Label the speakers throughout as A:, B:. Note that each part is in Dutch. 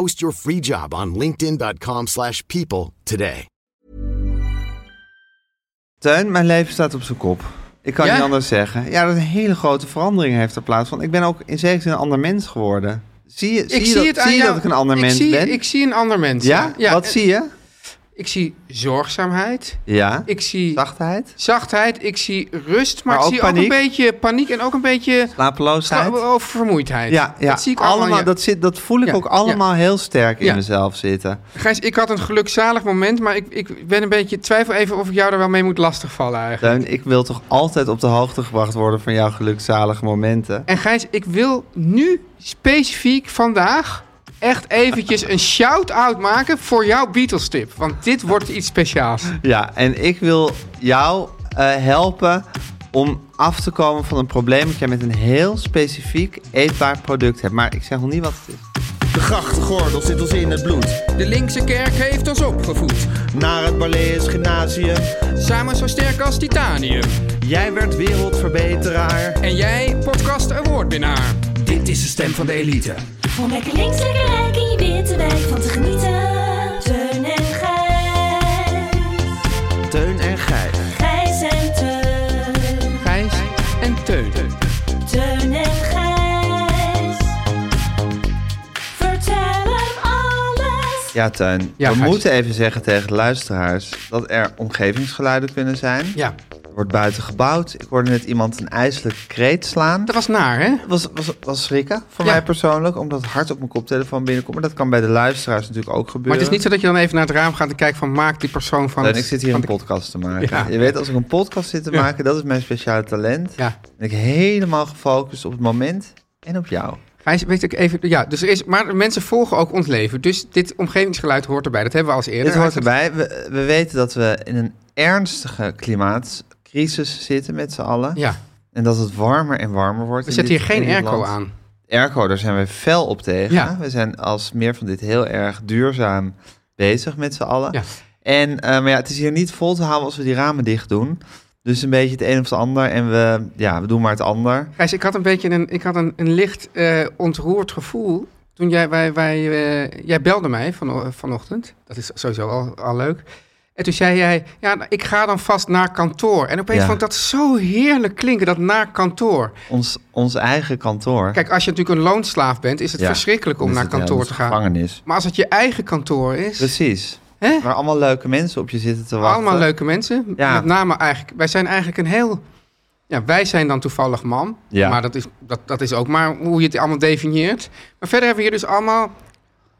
A: Post your free job on linkedin.com/people slash people today.
B: Teun, mijn leven staat op zijn kop. Ik kan
C: Ja?
B: niet anders zeggen. Ja, dat een hele grote verandering heeft er plaatsgevonden. Ik ben ook in zekere zin een ander mens geworden. Zie je, zie
C: Ik
B: je
C: zie,
B: dat,
C: het
B: zie
C: aan
B: je
C: jou.
B: dat ik een ander
C: ik
B: mens
C: zie,
B: ben?
C: Ik zie een ander mens.
B: ja? Wat
C: eh,
B: zie je?
C: Ik zie zorgzaamheid.
B: Ja?
C: Ik zie
B: Zachtheid?
C: zachtheid. Ik zie rust. Maar,
B: Maar
C: ik
B: ook
C: zie ook
B: paniek.
C: een beetje paniek en ook een beetje
B: Slapeloosheid?
C: over vermoeidheid.
B: Ja, ja.
C: oh. Dat zie ik allemaal.
B: allemaal,
C: ja.
B: dat, zit, dat voel ik
C: Ja,
B: ook
C: ja.
B: allemaal heel sterk in
C: Ja.
B: mezelf zitten.
C: Gijs, ik had een gelukzalig moment, maar ik, ik ben een beetje twijfel even of ik jou er wel mee moet lastigvallen eigenlijk.
B: Teun, ik wil toch altijd op de hoogte gebracht worden van jouw gelukzalige momenten.
C: En Gijs, ik wil nu specifiek vandaag echt eventjes een shout-out maken voor jouw Beatles-tip. Want dit wordt iets speciaals.
B: Ja, en ik wil jou eh, helpen om af te komen van een probleem dat jij met een heel specifiek eetbaar product hebt. Maar ik zeg nog niet wat het is.
D: De grachtgordel zit ons in het bloed.
C: De linkse kerk heeft ons opgevoed.
D: Naar het Barlees Gymnasium.
C: Samen zo sterk als titanium.
D: Jij werd wereldverbeteraar.
C: En jij, podcast awardwinnaar.
D: Dit is de stem van de elite.
E: Om lekker links, lekker rijk in je witte wijk van te genieten. Teun en Gijs.
D: Teun en Gijs.
E: Gijs en Teun.
C: Gijs en Teun.
E: Teun en Gijs. Vertel hem alles.
B: Ja, Tuin.
C: Ja,
B: we
C: Gijs.
B: moeten even zeggen tegen de luisteraars dat er omgevingsgeluiden kunnen zijn.
C: Ja,
B: Er wordt buiten gebouwd. Ik hoorde net iemand een ijselijk kreet slaan.
C: dat was naar, hè?
B: was, was, was schrikken voor
C: Ja.
B: mij persoonlijk, omdat het hard op mijn koptelefoon binnenkomt. Maar dat kan bij de luisteraars natuurlijk ook gebeuren.
C: Maar het is niet zo dat je dan even naar het raam gaat en kijkt van maakt die persoon van...
B: Teun,
C: het-
B: ik zit hier
C: van
B: een
C: de-
B: podcast te maken.
C: Ja.
B: Je weet, als ik een podcast zit te
C: Ja.
B: maken, dat is mijn speciale talent.
C: Ja,
B: Ben ik helemaal gefocust op het moment en op jou.
C: Gijs, weet ik even... Ja, dus er is, maar mensen volgen ook ons leven. Dus dit omgevingsgeluid hoort erbij. Dat hebben we als eerder.
B: Dit hoort erbij. We, we weten dat we in een ernstige klimaatcrisis zitten met z'n allen.
C: Ja,
B: En dat het warmer en warmer wordt.
C: we
B: in
C: zetten
B: dit- in
C: hier geen
B: dit
C: airco
B: land.
C: aan.
B: Airco, daar zijn we fel op tegen.
C: Ja.
B: We zijn als meer van dit heel erg duurzaam bezig met z'n allen.
C: Ja.
B: En, eh, maar ja, het is hier niet vol te houden als we die ramen dicht doen. Dus een beetje het een of het ander. En we, ja, we doen maar het ander.
C: Gijs, ik had een beetje een, ik had een, een licht eh, ontroerd gevoel. Toen jij, wij, wij, eh, jij belde mij van, vanochtend. Dat is sowieso al, al leuk. En toen zei jij, ja, nou, ik ga dan vast naar kantoor. En opeens
B: Ja.
C: vond ik dat zo heerlijk klinken, dat naar kantoor.
B: Ons, ons eigen kantoor.
C: Kijk, als je natuurlijk een loonslaaf bent, is het
B: Ja,
C: verschrikkelijk om
B: Dan is
C: naar
B: het, ja,
C: kantoor
B: onze
C: te gaan.
B: Gevangenis.
C: Maar als het je eigen kantoor is,
B: Precies.
C: Hè?
B: Waar allemaal leuke mensen op je zitten te wachten.
C: allemaal leuke mensen.
B: Ja.
C: Met name eigenlijk, wij zijn eigenlijk een heel... Ja, wij zijn dan toevallig man.
B: Ja.
C: Maar dat is, dat, dat is ook maar hoe je het allemaal definieert. Maar verder hebben we hier dus allemaal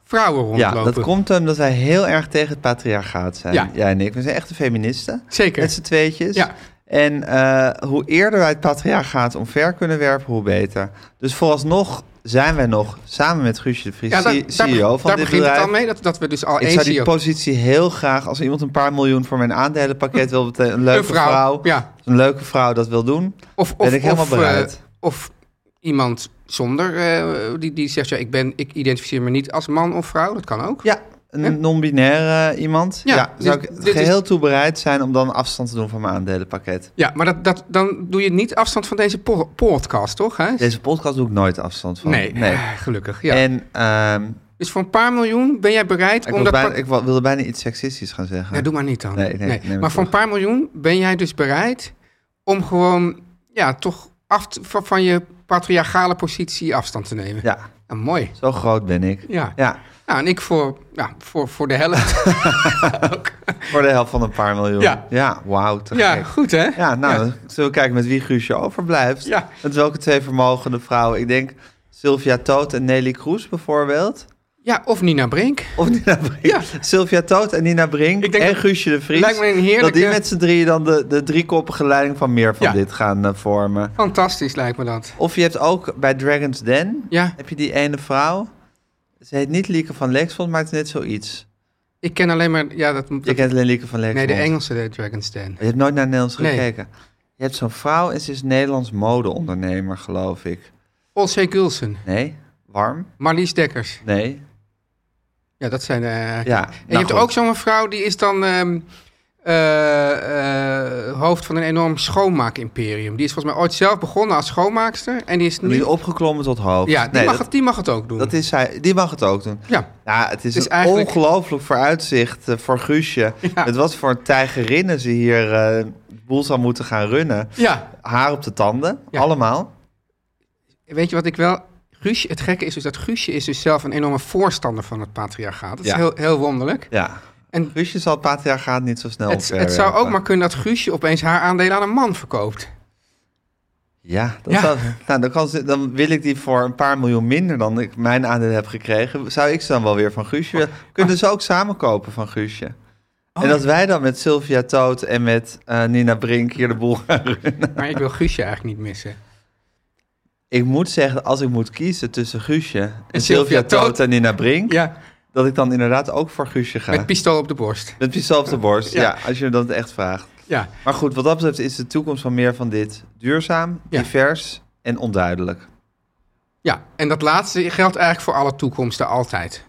C: vrouwen
B: Ja,
C: rondlopen.
B: dat komt omdat wij heel erg tegen het patriarchaat zijn.
C: Ja.
B: Jij en ik. We zijn echte feministen.
C: Zeker.
B: Met z'n tweetjes.
C: Ja.
B: En eh, hoe eerder wij het patriarchaat omver kunnen werpen, hoe beter. Dus vooralsnog zijn wij nog samen met Guusje de Vries,
C: Ja, daar,
B: C-
C: daar-
B: CEO van
C: daar
B: dit
C: begint
B: bedrijf.
C: het al mee, dat, dat we dus al
B: Ik
C: één
B: zou die
C: CEO...
B: positie heel graag, als iemand een paar miljoen voor mijn aandelenpakket wil, bete- een leuke
C: Een vrouw, ja.
B: een leuke vrouw dat wil doen,
C: Of, of,
B: ben ik helemaal
C: of,
B: bereid.
C: eh, of iemand zonder, eh, die, die zegt, ja, ik, ben, ik identificeer me niet als man of vrouw. Dat kan ook.
B: Ja, een
C: Hè?
B: non-binaire eh, iemand. Ja,
C: Ja,
B: zou
C: dit-
B: ik
C: dit is-
B: geheel toe bereid zijn om dan afstand te doen van mijn aandelenpakket.
C: Ja, maar dat, dat, dan doe je niet afstand van deze po- podcast, toch? Hè?
B: Deze podcast doe ik nooit afstand van.
C: nee, gelukkig. Ja.
B: En ehm,
C: Dus voor een paar miljoen ben jij bereid
B: Ik, was
C: om dat...
B: bijna-
C: par-
B: ik wa- wilde bijna iets seksistisch gaan zeggen.
C: Nee, doe maar niet dan.
B: Nee, nee, neem ik
C: Maar voor
B: terug.
C: een paar miljoen ben jij dus bereid om gewoon, ja, toch af te- van, van je patriarchale positie afstand te nemen.
B: Ja,
C: Nou, mooi.
B: zo groot ben ik.
C: Ja.
B: Ja,
C: Nou, en ik voor, ja, voor, voor de helft. Ook.
B: voor de helft van een paar miljoen.
C: Ja.
B: wauw, te
C: Ja,
B: gek.
C: goed hè?
B: Ja, nou, dan zullen we kijken met wie Guusje overblijft.
C: Ja.
B: Met welke twee vermogende vrouwen. Ik denk Sylvia Toot en Nelly Kroes bijvoorbeeld.
C: Ja, of Nina Brink.
B: Of Nina Brink.
C: Ja.
B: Sylvia Toot en Nina Brink
C: Ik denk
B: en
C: dat-
B: Guusje de Vries.
C: lijkt me een
B: Dat die
C: heerlijke-
B: met z'n drieën dan de, de driekoppige leiding van meer van
C: Ja.
B: dit gaan eh, vormen.
C: Fantastisch lijkt me dat.
B: Of je hebt ook bij Dragon's Den,
C: Ja.
B: heb je die ene vrouw. Ze heet niet Lieke van Lexmond, maar het is net zoiets.
C: Ik ken alleen maar, ja, dat, dat
B: Je kent alleen Lieke van
C: nee,
B: Lexmond.
C: de Engelse de Dragon's Den.
B: Je hebt nooit naar Nederlands
C: Nee.
B: gekeken. Je hebt zo'n vrouw en ze is Nederlands modeondernemer, geloof ik.
C: Olsey Gulsen,
B: Nee? Warm?
C: Marlies Dekkers.
B: Nee?
C: Ja, dat zijn
B: Ja.
C: eh En je
B: nou
C: hebt
B: goed.
C: ook zo'n vrouw die is dan ehm, eh, eh, hoofd van een enorm schoonmaakimperium. Die is volgens mij ooit zelf begonnen als schoonmaakster en die is
B: Nu
C: nu...
B: opgeklommen tot hoofd.
C: Ja, die,
B: nee,
C: mag
B: dat,
C: het, die mag het ook doen.
B: dat is zij. Die mag het ook doen.
C: Ja,
B: Ja, het is,
C: Het is
B: een
C: eigenlijk-
B: ongelooflijk vooruitzicht eh, voor Guusje.
C: Ja.
B: Het was voor een tijgerinnen ze hier eh de boel zou moeten gaan runnen.
C: ja.
B: Haar op de tanden,
C: Ja.
B: allemaal.
C: Weet je wat ik wel... Guusje, het gekke is dus dat Guusje is dus zelf een enorme voorstander van het patriarchaat. Dat
B: Ja.
C: is heel, heel wonderlijk.
B: Ja.
C: En-
B: Guusje zal het patriarchaat niet zo snel
C: Het, het zou ook
B: opwerpen.
C: maar kunnen dat Guusje opeens haar aandelen aan een man verkoopt.
B: Ja, dat
C: Ja.
B: Zou, nou, dan, kan ze, dan wil ik die voor een paar miljoen minder dan ik mijn aandeel heb gekregen. Zou ik ze dan wel weer van Guusje
C: Oh.
B: willen? Kunnen ze ook samen kopen van Guusje? En dat wij dan met Sylvia Toot en met eh, Nina Brink hier de boel gaan runnen.
C: Maar ik wil Guusje eigenlijk niet missen.
B: Ik moet zeggen, als ik moet kiezen tussen Guusje en,
C: En
B: Sylvia
C: Sylvia
B: Toot,
C: Toot.
B: en Nina Brink,
C: Ja,
B: dat ik dan inderdaad ook voor Guusje ga.
C: met pistool op de borst.
B: Met pistool op de borst, ja.
C: Ja.
B: als je dat echt vraagt.
C: Ja,
B: Maar goed, wat dat betreft is de toekomst van meer van dit duurzaam,
C: Ja.
B: divers en onduidelijk.
C: ja. en dat laatste geldt eigenlijk voor alle toekomsten altijd.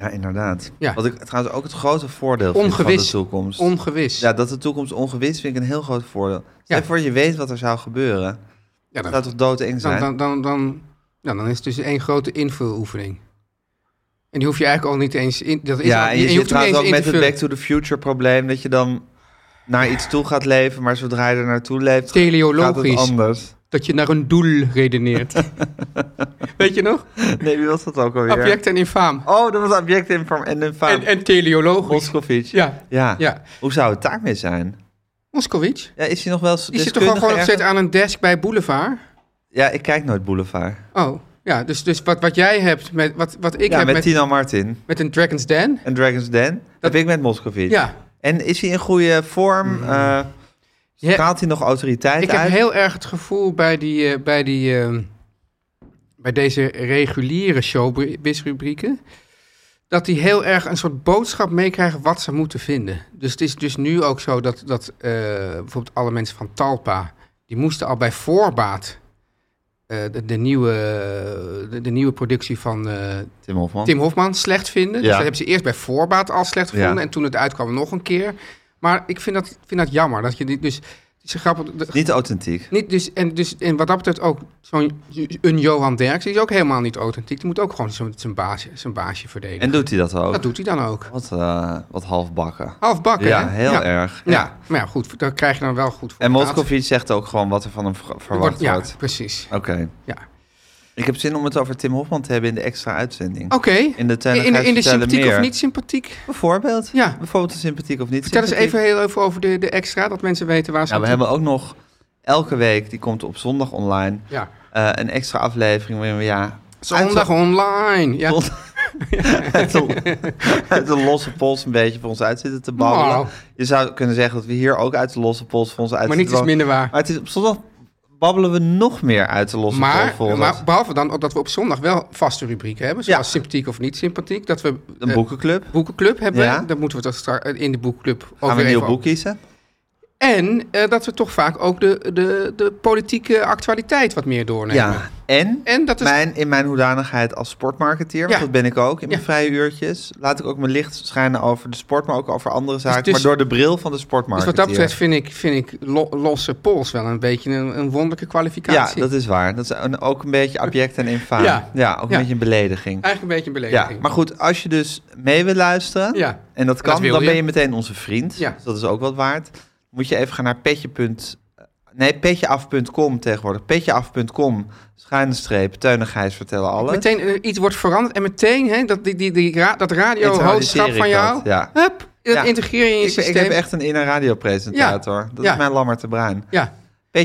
B: Ja, inderdaad.
C: Ja.
B: Wat ik trouwens ook het grote voordeel vind van de
C: Ongewis.
B: toekomst.
C: Ongewis.
B: ja, dat de toekomst ongewis vind ik een heel groot voordeel. Stel
C: Ja.
B: voor je weet wat er zou gebeuren. Dat
C: Ja, dan,
B: zou toch doodeng
C: dan,
B: zijn?
C: dan, dan, dan, nou, dan is het dus één grote invuloefening. En die hoef je eigenlijk al niet eens in... Dat is
B: ja,
C: al-
B: en je, zit
C: hoeft hem niet
B: trouwens
C: eens
B: ook
C: in
B: met
C: te
B: het
C: vullen.
B: Back to the Future probleem... dat je dan naar iets toe gaat leven, maar zodra je er naartoe leeft... gaat het
C: Teleologisch.
B: anders.
C: Dat je naar een doel redeneert. Weet je nog?
B: Nee, wie was dat ook alweer?
C: Abject en infaam.
B: Oh, dat was object in vorm en in
C: En,
B: faam.
C: en teleologisch.
B: Moscovic.
C: Ja,
B: Ja.
C: ja.
B: Hoe zou het daarmee zijn?
C: Moskovits.
B: Ja, is hij nog wel eens
C: Die zit toch
B: deskundige
C: gewoon nog steeds
B: ergens?
C: aan een desk bij Boulevard?
B: Ja, ik kijk nooit Boulevard.
C: Oh, ja. Dus, dus wat, wat jij hebt met... Wat, wat ik
B: ja,
C: heb
B: met,
C: met, met,
B: Tino Martin
C: een Dragon's Den.
B: en Dragon's Den. Dat heb ik met Moscovic.
C: Ja.
B: En is hij in goede vorm? Eh
C: Je-
B: straalt hij nog autoriteit
C: ik
B: uit?
C: heb heel erg het gevoel bij, die, eh, bij, die, eh, bij deze reguliere showbiz-rubrieken... dat die heel erg een soort boodschap meekrijgen wat ze moeten vinden. Dus het is dus nu ook zo dat, dat eh, bijvoorbeeld alle mensen van Talpa... die moesten al bij voorbaat... eh, de, de nieuwe, de, de nieuwe productie van eh,
B: Tim Hofman.
C: Tim Hofman slecht vinden.
B: Ja.
C: Dus dat hebben ze eerst bij voorbaat al slecht gevonden.
B: Ja.
C: En toen het uitkwam nog een keer. Maar ik vind dat, vind dat jammer. Dat je dit dus. Het is grappig. dat-
B: Niet authentiek.
C: niet dus, en, dus, en wat dat betreft ook zo'n een Johan Derksen die is ook helemaal niet authentiek. Die moet ook gewoon zijn, zijn, baasje, zijn baasje verdedigen.
B: En doet hij dat ook?
C: dat doet hij dan ook.
B: Wat, eh, wat halfbakken.
C: Half bakken,
B: Ja,
C: hè?
B: heel
C: ja.
B: erg.
C: Ja. maar ja, goed, daar krijg je dan wel goed voor.
B: En
C: betaald.
B: Moscovic zegt ook gewoon wat er van hem ver-
C: Er
B: verwacht
C: wordt- Ja,
B: wordt.
C: precies.
B: Oké.
C: Ja.
B: Ik heb zin om het over Tim Hofman te hebben in de extra uitzending.
C: Oké.
B: In de
C: In, in, in de
B: Telegraaf vertellen
C: sympathiek
B: meer.
C: of niet sympathiek?
B: Bijvoorbeeld?
C: Ja.
B: Bijvoorbeeld een sympathiek of niet
C: Vertel eens
B: sympathiek.
C: even heel even over de, de extra, dat mensen weten waar ze
B: Ja, we
C: aan
B: hebben ook nog elke week, die komt op zondag online,
C: toe- Ja.
B: eh, een extra aflevering waarin we ja...
C: Zondag online. Ja.
B: Zond- uit de, uit de losse pols een beetje voor ons uit zitten te babbelen.
C: Nou.
B: Je zou kunnen zeggen dat we hier ook uit de losse pols voor ons uit
C: Maar
B: zitten
C: niets is
B: te
C: minder
B: babbelen.
C: waar.
B: Maar het is, op zondag babbelen we nog meer uit de losse pols
C: Maar,
B: voor ons.
C: maar behalve dan dat we op zondag wel vaste rubrieken hebben, zoals
B: Ja.
C: sympathiek of niet sympathiek. Dat we
B: een
C: eh,
B: boekenclub.
C: boekenclub hebben.
B: Ja.
C: Dan moeten we dat straks eh, in de boekenclub
B: Gaan we
C: over
B: een nieuw
C: even
B: boek kiezen?
C: En eh, dat we toch vaak ook de, de, de politieke actualiteit wat meer doornemen. Dus
B: Ja, en,
C: En dat is-
B: mijn, in mijn hoedanigheid als sportmarketeer, want
C: Ja.
B: dat ben ik ook in mijn
C: Ja.
B: vrije uurtjes, laat ik ook mijn licht schijnen over de sport, maar ook over andere zaken,
C: dus-
B: maar door de bril van de
C: Dus
B: sportmarketeer.
C: wat dat betreft vind ik, vind ik lo- losse pols wel een beetje een, een wonderlijke
B: Ja,
C: kwalificatie.
B: dat is waar. Dat is een- ook een beetje abject en infaam. Ja,
C: Ja.
B: ook
C: Ja.
B: een beetje een belediging.
C: Eigenlijk een beetje een
B: Ja,
C: belediging.
B: maar goed, als je dus mee wil luisteren,
C: Ja.
B: en dat
C: En dat
B: kan,
C: wil
B: dan
C: je.
B: ben je meteen onze vriend.
C: Ja.
B: Dus dat is ook wat waard. Moet je even gaan naar petje. punt- eh, Nee, petjeaf.com tegenwoordig. Petjeaf.com, schuine streep, Teun en Gijs vertellen alles.
C: Meteen eh, iets wordt veranderd en meteen hè, dat, die, die, die, ra- dat
B: Internaliseer
C: radiohoofdschap
B: ik
C: van jou,
B: dat, ja.
C: hup, dat
B: Ja.
C: integreer je in je
B: Ik, ik
C: systeem.
B: heb echt een inner radiopresentator.
C: Ja.
B: Dat
C: Ja.
B: is mijn Lammert de Bruin.
C: Ja,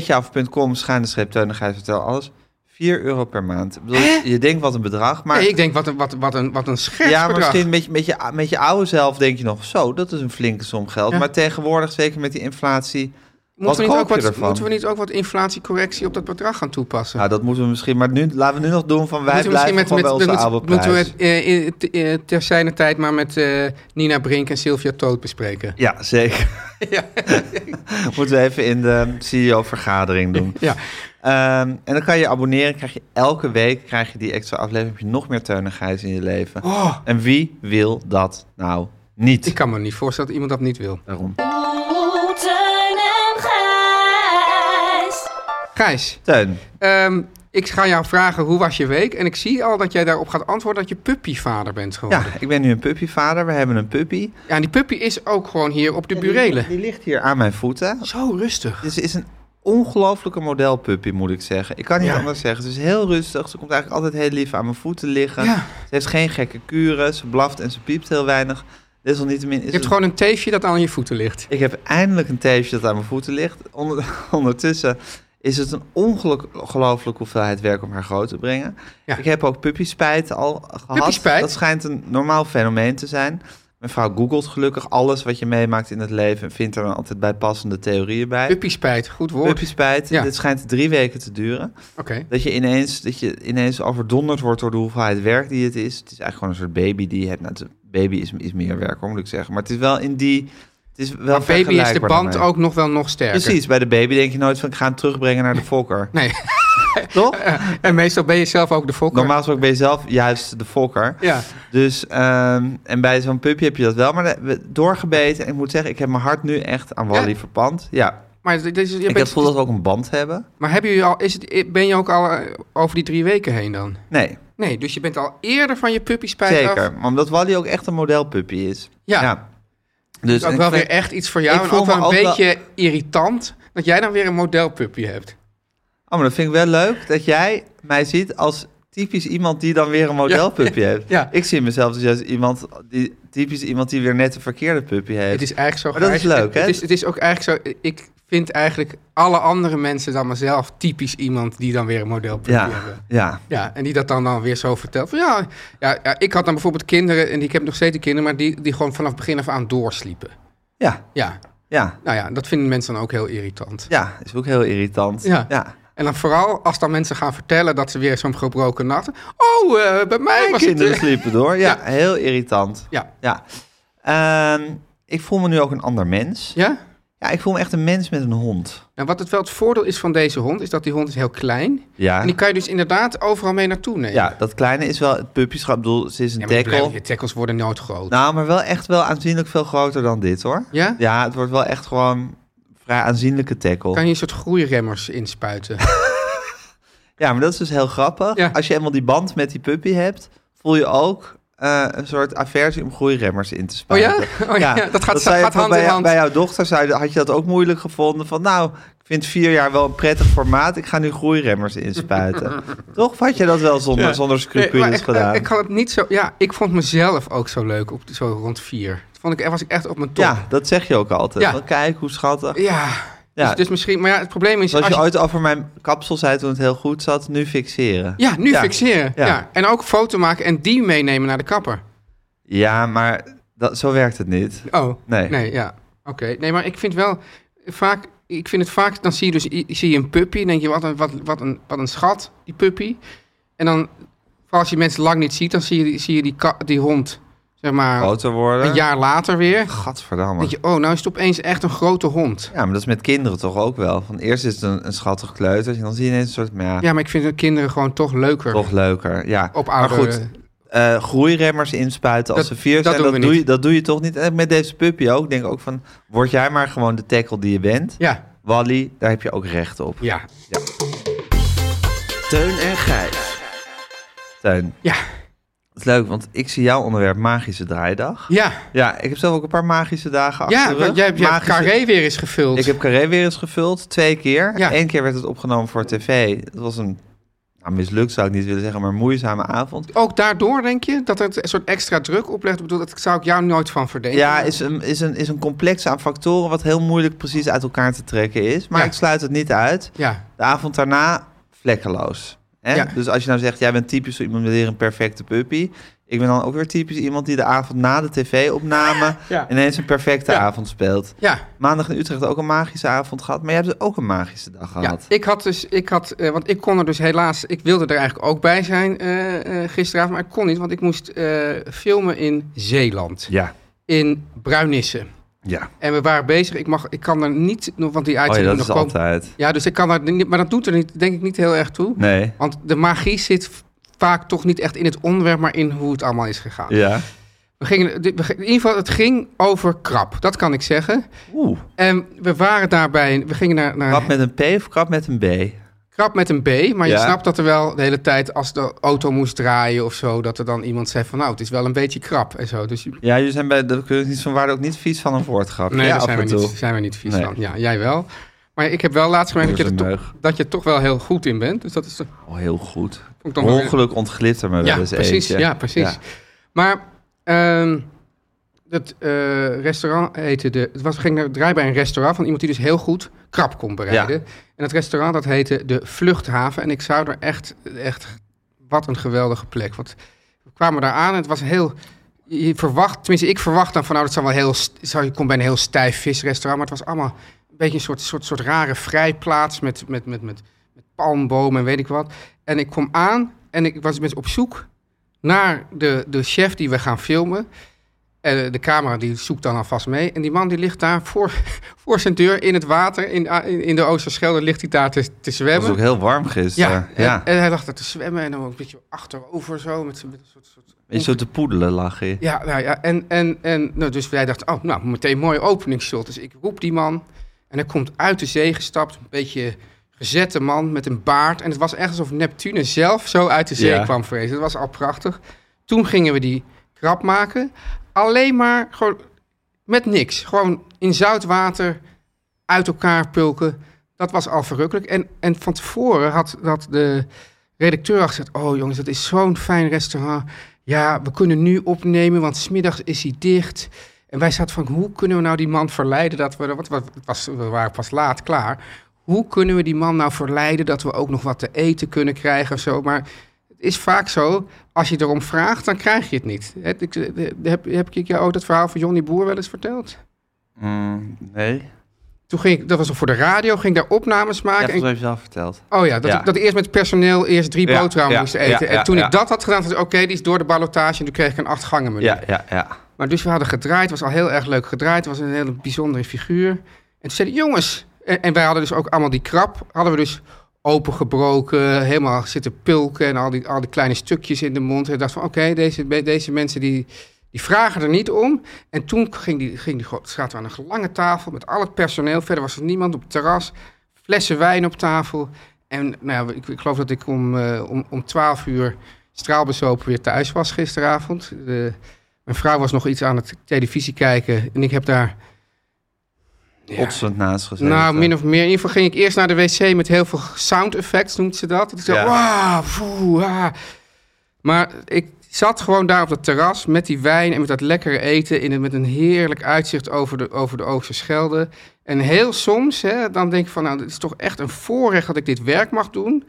B: Petjeaf.com, schuine streep, Teun en Gijs vertellen alles. 4 euro per maand. Ik bedoel, je denkt wat een bedrag, maar...
C: nee, ik denk wat een, wat, wat een, wat een scherp
B: Ja, maar
C: bedrag.
B: misschien met je, met, je, met je oude zelf denk je nog... zo, dat is een flinke som geld.
C: Ja.
B: Maar tegenwoordig, zeker met die inflatie...
C: Moeten, we
B: wat
C: niet
B: koop
C: ook
B: je
C: wat,
B: ervan?
C: moeten we niet ook wat inflatiecorrectie op dat bedrag gaan toepassen?
B: Nou, dat moeten we misschien... Maar nu, laten we nu nog doen van... wij
C: Moeten we misschien
B: blijven gewoon bij onze
C: met-
B: oude prijs.
C: Moeten we het eh, in- te- eh, ter zijner tijd maar met eh, Nina Brink en Sylvia Toot bespreken.
B: Ja, zeker.
C: Ja.
B: moeten we even in de CEO-vergadering doen.
C: Ja.
B: Ehm, en dan kan je abonneren. Krijg je elke week krijg je die extra aflevering. Heb je nog meer teunigheid in je leven.
C: Oh,
B: En wie wil dat nou niet?
C: ik kan me niet voorstellen dat iemand dat niet wil.
B: Daarom.
E: Oh, Teun en Gijs.
C: Gijs,
B: Teun,
C: ehm, ik ga jou vragen hoe was je week? En ik zie al dat jij daarop gaat antwoorden dat je puppyvader bent geworden.
B: ja,
C: Ja.
B: ik ben nu een puppyvader. We hebben een puppy.
C: en die puppy is ook gewoon hier op de
B: Die-
C: burelen.
B: Die ligt hier aan mijn voeten.
C: Zo rustig.
B: Dus ze is een ongelofelijke modelpuppy, moet ik zeggen. Ik kan niet
C: Ja.
B: anders zeggen. Ze is heel rustig. Ze komt eigenlijk altijd heel lief aan mijn voeten liggen.
C: Ja.
B: Ze heeft geen gekke kuren. Ze blaft en ze piept heel weinig. Desalniettemin is
C: Je
B: het-
C: hebt gewoon een teefje dat aan je voeten ligt.
B: Ik heb eindelijk een teefje dat aan mijn voeten ligt. Onder- Ondertussen is het een ongelooflijke hoeveelheid werk om haar groot te brengen.
C: Ja.
B: Ik heb ook puppyspijt al gehad.
C: Puppyspijt?
B: Dat schijnt een normaal fenomeen te zijn. Mijn vrouw googelt gelukkig alles wat je meemaakt in het leven... en vindt er dan altijd bijpassende theorieën bij.
C: Puppy spijt, goed woord.
B: Puppyspijt,
C: Ja.
B: dit schijnt drie weken te duren.
C: Oké.
B: Dat je, ineens, dat je ineens overdonderd wordt door de hoeveelheid werk die het is. Het is eigenlijk gewoon een soort baby die je hebt. Nou, het is- baby is, is meer werk, hoor, moet ik zeggen. Maar het is wel in die... Het is wel
C: Maar baby is de
B: vergelijkbaar
C: band
B: daarmee.
C: ook nog wel nog sterker.
B: Precies, bij de baby denk je nooit van ik ga hem terugbrengen naar de fokker.
C: Nee.
B: Toch?
C: en meestal ben je zelf ook de fokker.
B: Normaal gesproken ben je zelf juist de fokker.
C: Ja.
B: Dus, ehm, en bij zo'n puppy heb je dat wel, maar dat hebben we doorgebeten. En ik moet zeggen, ik heb mijn hart nu echt aan Wally
C: Ja.
B: verpand. Ja,
C: Maar, dit is- je
B: ik heb
C: bent-
B: het gevoel dat we ook een band hebben.
C: maar hebben jullie al, is het, ben je ook al eh, over die drie weken heen dan?
B: Nee,
C: Nee, dus je bent al eerder van je puppyspijt af.
B: zeker. Maar Omdat Wally ook echt een modelpuppy is.
C: Ja.
B: Dus
C: is ook
B: en
C: wel
B: ik vind-
C: weer echt iets voor jou.
B: ik
C: en
B: voel
C: ook wel
B: me
C: een
B: ook wel-
C: beetje irritant dat jij dan weer een modelpuppy hebt.
B: Oh, maar dat vind ik wel leuk dat jij mij ziet als typisch iemand die dan weer een modelpuppy heeft.
C: Ja.
B: Ik zie mezelf dus juist iemand, die, typisch iemand die weer net een verkeerde puppy heeft.
C: Het is eigenlijk zo...
B: Maar dat is
C: Gijs,
B: leuk,
C: het-
B: hè?
C: Het is, het is ook eigenlijk zo... Ik vind eigenlijk alle andere mensen dan mezelf typisch iemand die dan weer een modelpuppy
B: ja,
C: hebben.
B: ja.
C: Ja, en die dat dan, dan weer zo vertelt. Van, ja, ja, ja, ik had dan bijvoorbeeld kinderen, en die- ik heb nog steeds die kinderen, maar die, die gewoon vanaf begin af aan doorsliepen.
B: Ja,
C: Ja,
B: ja,
C: nou ja, dat vinden mensen dan ook heel irritant.
B: ja. Is ook heel irritant.
C: Ja.
B: ja.
C: En dan vooral als dan mensen gaan vertellen dat ze weer zo'n gebroken nacht... Oh, eh, bij mij
B: Mijn
C: was het...
B: kinderen
C: eh,
B: sliepen door. Ja,
C: Ja.
B: heel irritant.
C: Ja.
B: Ja. Ehm, ik voel me nu ook een ander mens.
C: Ja?
B: Ja, ik voel me echt een mens met een hond.
C: En wat het wel het voordeel is van deze hond, is dat die hond is heel klein.
B: Ja.
C: En die kan je dus inderdaad overal mee naartoe nemen.
B: Ja, dat kleine is wel het puppyschap. Ik bedoel, ze is een
C: Ja, maar je
B: dekkel.
C: blijft- Je tackles worden nooit groot.
B: Nou, maar wel echt wel aanzienlijk veel groter dan dit, hoor.
C: Ja?
B: Ja, het wordt wel echt gewoon vrij aanzienlijke tackle.
C: Kan je een soort groeiremmers inspuiten.
B: Ja, maar dat is dus heel grappig.
C: Ja.
B: Als je eenmaal die band met die puppy hebt, voel je ook eh, een soort aversie om groeiremmers in te spuiten.
C: Oh ja? Oh ja, dat gaat-
B: zou je
C: gaat hand
B: bij,
C: in
B: jou-
C: hand.
B: Bij jouw dochter zou je, had je dat ook moeilijk gevonden. Van nou, ik vind vier jaar wel een prettig formaat. Ik ga nu groeiremmers inspuiten. Toch? Of had je dat wel zonder, zonder
C: Nee,
B: scrupules
C: maar ik,
B: dus
C: eh,
B: gedaan?
C: Ik had het niet zo... Ja, ik vond mezelf ook zo leuk op zo rond vier. Dat Vond ik, was ik echt op mijn top.
B: ja, dat zeg je ook altijd.
C: Ja.
B: Van, kijk, hoe schattig.
C: Ja.
B: Ja.
C: Dus, dus misschien... Maar ja, het probleem is...
B: Zoals je
C: als je-
B: ooit over mijn kapsel zei toen het heel goed zat, nu fixeren.
C: Ja, nu
B: Ja.
C: fixeren.
B: Ja.
C: Ja. En ook foto maken en die meenemen naar de kapper.
B: Ja, maar dat, zo werkt het niet.
C: Oh,
B: Nee.
C: Nee, ja. Oké. Nee, maar ik vind wel vaak. Ik vind het vaak. Dan zie je dus i- zie je een puppy. En denk je, wat een, wat, wat, een, wat een schat, die puppy. En dan, vooral als je mensen lang niet ziet, dan zie je, die- zie je die, ka- die hond Zeg maar
B: groter worden.
C: een jaar later weer.
B: Gadverdamme.
C: Denk je, oh, nou is het opeens echt een grote hond.
B: Ja, maar dat is met kinderen toch ook wel. Van eerst is het een, een schattig kleuter. En dan zie je ineens een soort, maar ja,
C: Ja, maar ik vind de kinderen gewoon toch leuker.
B: toch leuker. Ja.
C: Op
B: maar
C: oude...
B: goed, eh, groeiremmers inspuiten als
C: Dat-
B: ze vier
C: dat
B: zijn,
C: doen
B: dat,
C: we
B: doe je,
C: niet.
B: dat doe je toch niet. En met deze puppy ook. Ik denk ook van, word jij maar gewoon de tackle die je bent.
C: Ja,
B: Wally, daar heb je ook recht op.
C: ja,
D: Teun en Gijs.
B: Teun,
C: ja,
B: het is leuk, want ik zie jouw onderwerp magische draaidag.
C: ja.
B: Ja, ik heb zelf ook een paar magische dagen achter
C: Ja,
B: de rug.
C: want jij hebt je
B: Magische-
C: carré weer eens gevuld.
B: Ik heb Carré weer eens gevuld, twee keer.
C: Ja.
B: Eén keer werd het opgenomen voor tv. Het was een, nou mislukt zou ik niet willen zeggen, maar een moeizame avond.
C: Ook daardoor denk je dat het een soort extra druk oplegt? Ik bedoel, dat zou ik jou nooit van verdenken.
B: Ja, is een, is, een, is een complex aan factoren wat heel moeilijk precies uit elkaar te trekken is. Maar
C: Ja.
B: ik sluit het niet uit.
C: Ja,
B: De avond daarna, vlekkeloos. Hè?
C: Ja.
B: Dus als je nou zegt, jij bent typisch zo iemand met weer een perfecte puppy. Ik ben dan ook weer typisch iemand die de avond na de tv-opname
C: Ja.
B: ineens een perfecte
C: Ja.
B: avond speelt.
C: ja.
B: Maandag in Utrecht ook een magische avond gehad, maar jij hebt dus ook een magische dag
C: ja.
B: gehad.
C: Ik had dus, ik had, eh, want ik kon er dus helaas, ik wilde er eigenlijk ook bij zijn eh, eh, gisteravond, maar ik kon niet, want ik moest eh, filmen in Zeeland,
B: Ja,
C: in Bruinissen.
B: ja.
C: En we waren bezig, ik, mag, ik kan er niet, nog- want die
B: Oh ja,
C: uitzending
B: dat
C: moet
B: is
C: nog komen.
B: altijd.
C: Ja, dus ik kan er niet, maar dat doet er niet, denk ik niet heel erg toe.
B: Nee.
C: Want de magie zit v- vaak toch niet echt in het onderwerp, maar in hoe het allemaal is gegaan.
B: Ja.
C: We gingen, dit- we gingen- in ieder geval, het ging over krap, dat kan ik zeggen.
B: Oeh.
C: En we waren daarbij, we gingen naar, naar
B: Krap met een P of krap met een B?
C: krap met een B, maar je
B: Ja.
C: snapt dat er wel de hele tijd als de auto moest draaien of zo, dat er dan iemand zei van nou, het is wel een beetje krap en zo. Dus je-
B: Ja, jullie zijn bij de kunst van waarde ook niet vies van een woordgrap.
C: nee,
B: ja,
C: daar zijn
B: af
C: we,
B: en toe.
C: niet, zijn we niet vies
B: Nee.
C: van. Ja, jij wel. Maar ik heb wel laatst gemerkt dat je, er
B: Door zijn
C: toch, dat je er toch wel heel goed in bent. Dus dat is toch-
B: Oh, heel goed.
C: vond ik dan wel-
B: Ongeluk ontglipt er me
C: Ja,
B: wel eens
C: precies.
B: eentje.
C: Ja, precies. Maar ehm het eh, restaurant heette de. Het was, ging naar draai bij een restaurant van iemand die dus heel goed krap kon bereiden. En dat restaurant dat heette de Vluchthaven. En ik zou er echt, echt wat een geweldige plek. Want we kwamen daar aan en het was heel. Je verwacht, tenminste, ik verwacht dan van nou, dat zou wel heel. st- Zou, je komt bij een heel stijf visrestaurant, maar het was allemaal een beetje een soort, soort, soort rare vrijplaats met, met, met, met, met palmbomen en weet ik wat. En ik kom aan en ik was met op zoek naar de, de chef die we gaan filmen. En eh, de camera die zoekt dan alvast mee. En die man die ligt daar voor, voor zijn deur in het water, in, ah, in, in de Oosterschelde, ligt hij daar te, te
B: Het was
C: zwemmen.
B: ook heel warm gisteren. Ja.
C: Ja, en, en hij lag daar te zwemmen en dan ook een beetje achterover zo. Met, met een soort, soort...
B: Is zo te poedelen lag je.
C: Ja, nou ja, en, en, en nou, dus wij dachten, oh, nou, meteen mooi openingsshot. Dus ik roep die man en hij komt uit de zee gestapt, een beetje gezette man met een baard. En het was echt alsof Neptune zelf zo uit de zee
B: Ja.
C: kwam vrezen. Dat was al prachtig. Toen gingen we die krap maken, alleen maar gewoon met niks. Gewoon in zout water, uit elkaar pulken. Dat was al verrukkelijk. En, en van tevoren had, had de redacteur al gezegd... oh jongens, dat is zo'n fijn restaurant. Ja, we kunnen nu opnemen, want smiddags is hij dicht. En wij zaten van, hoe kunnen we nou die man verleiden dat we... Want het was, we waren pas laat klaar. Hoe kunnen we die man nou verleiden dat we ook nog wat te eten kunnen krijgen of zo? Maar het is vaak zo, als je erom vraagt, dan krijg je het niet. Heb, ik- eh, heb, heb ik jou ook dat verhaal van Johnny Boer wel eens verteld?
B: Mm, nee.
C: Toen ging ik, dat was nog voor de radio, ging ik daar opnames
B: Ja,
C: maken.
B: volgens mij heb je zelf verteld.
C: en, oh ja, dat,
B: Ja.
C: Ik, dat ik eerst met personeel eerst drie
B: Ja,
C: boterhammen
B: ja,
C: moest eten.
B: ja, ja,
C: en toen
B: ja.
C: ik dat had gedaan, dacht ik, oké, die is door de ballotage. En toen kreeg ik een acht gangen menu.
B: Ja, ja, ja.
C: Maar dus we hadden gedraaid, was al heel erg leuk gedraaid. was een hele bijzondere figuur. En toen zeiden jongens... En, en wij hadden dus ook allemaal die krap, hadden we dus opengebroken. Helemaal zitten pulken en al die, al die kleine stukjes in de mond. En ik dacht van, oké, deze, deze mensen die, die vragen er niet om. En toen ging die, ging die, gro- zaten we aan een lange tafel met al het personeel. Verder was er niemand op het terras. Flessen wijn op tafel. En nou ja, ik, ik geloof dat ik om, eh, om, om 12 uur straalbezopen weer thuis was gisteravond. De, mijn vrouw was nog iets aan het televisie kijken. En ik heb daar... Ja.
B: Otsend naast gezeten.
C: Nou, min of meer. In ieder geval ging ik eerst naar de wc met heel veel sound effects, noemt ze dat. Dat ik zei,
B: Ja.
C: wauw, foe, ah. Maar ik zat gewoon daar op dat terras met die wijn en met dat lekkere eten... In een, met een heerlijk uitzicht over de, over de Oosterschelde. En heel soms, hè, dan denk ik van... nou, het is toch echt een voorrecht dat ik dit werk mag doen.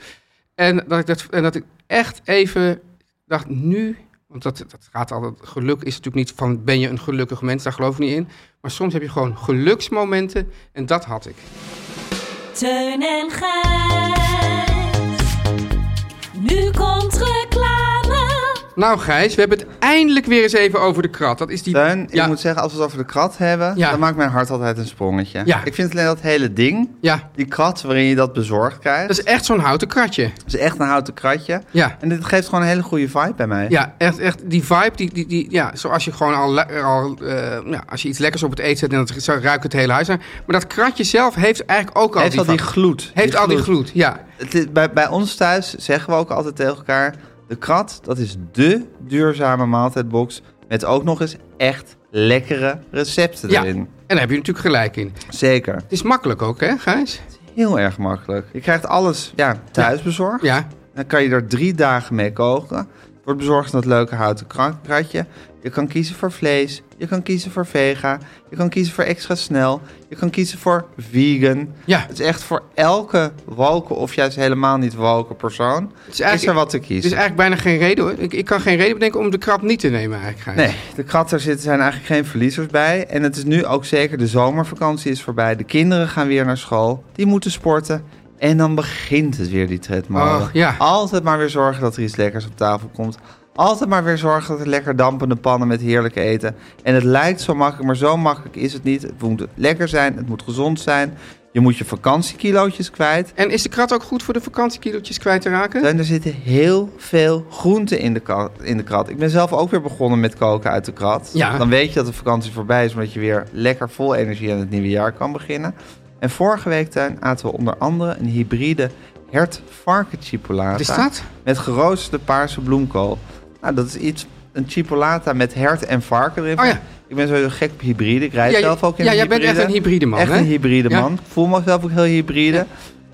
C: En dat ik, dat, en dat ik echt even dacht, nu... Want dat, dat gaat altijd. Geluk is natuurlijk niet van ben je een gelukkig mens, daar geloof ik niet in. Maar soms heb je gewoon geluksmomenten en dat had ik.
E: Teun en Gijs. Nu komt reclame.
C: Nou Gijs, we hebben het eindelijk weer eens even over de krat. Dat is die...
B: Teun,
C: ja,
B: ik moet zeggen, als we het over de krat hebben,
C: Ja.
B: dan maakt mijn hart altijd een sprongetje.
C: Ja.
B: Ik vind alleen dat hele ding,
C: ja,
B: die krat waarin je dat bezorgd krijgt,
C: dat is echt zo'n houten kratje.
B: is echt een houten kratje.
C: Ja.
B: En dit geeft gewoon een hele goede vibe bij mij.
C: Ja, echt, echt die vibe, die, die, die, ja, zoals je gewoon al, le- al eh, ja, als je iets lekkers op het eten zet, en dat zo ruikt het hele huis aan. Maar dat kratje zelf heeft eigenlijk ook al
B: Heeft
C: die,
B: al die
C: vibe.
B: gloed.
C: heeft al die gloed, ja.
B: Het is- bij, bij ons thuis zeggen we ook altijd tegen elkaar: de krat, dat is dé duurzame maaltijdbox. Met ook nog eens echt lekkere recepten
C: ja.
B: erin.
C: En daar heb je natuurlijk gelijk in.
B: Zeker.
C: Het is makkelijk ook, hè, Gijs?
B: Heel erg makkelijk. Je krijgt alles ja, thuis bezorgd.
C: Ja,
B: Dan kan je er drie dagen mee koken. Wordt bezorgd in dat leuke houten kra- kratje. Je kan kiezen voor vlees. Je kan kiezen voor vega. Je kan kiezen voor extra snel. Je kan kiezen voor vegan.
C: ja.
B: Het is echt voor elke woken of juist helemaal niet woken persoon.
C: is
B: Is,
C: eigenlijk-
B: er wat te
C: Er is
B: kiezen.
C: eigenlijk bijna geen reden, hoor. Ik, ik kan geen reden bedenken om de krat niet te nemen, eigenlijk, Gijs.
B: Nee, de kratten zitten zijn eigenlijk geen verliezers bij. En het is nu ook zeker, de zomervakantie is voorbij. De kinderen gaan weer naar school. Die moeten sporten. En dan begint het weer, die tredmolen.
C: Oh, ja.
B: Altijd maar weer zorgen dat er iets lekkers op tafel komt. Altijd maar weer zorgen dat er lekker dampende pannen met heerlijk eten. En het lijkt zo makkelijk, maar zo makkelijk is het niet. Het moet lekker zijn, het moet gezond zijn. Je moet je vakantiekilootjes kwijt.
C: En is de krat ook goed voor de vakantiekilootjes kwijt te raken?
B: En er zitten heel veel groenten in de, ka- in de krat. Ik ben zelf ook weer begonnen met koken uit de krat.
C: Ja.
B: Dan weet je dat de vakantie voorbij is, omdat je weer lekker vol energie aan het nieuwe jaar kan beginnen. En vorige week tuin aten we onder andere een hybride hert varken chipolata.
C: Wat is dat?
B: Met geroosterde paarse bloemkool. Nou, dat is iets, een chipolata met hert en varken erin.
C: Oh ja.
B: Ik ben sowieso gek op hybride. Ik rijd
C: Ja, je-
B: zelf ook in
C: ja,
B: een
C: jij bent
B: hybride.
C: echt een hybride man,
B: Echt
C: hè?
B: een hybride
C: Ja.
B: man. Ik voel mezelf ook heel hybride.
C: Ja.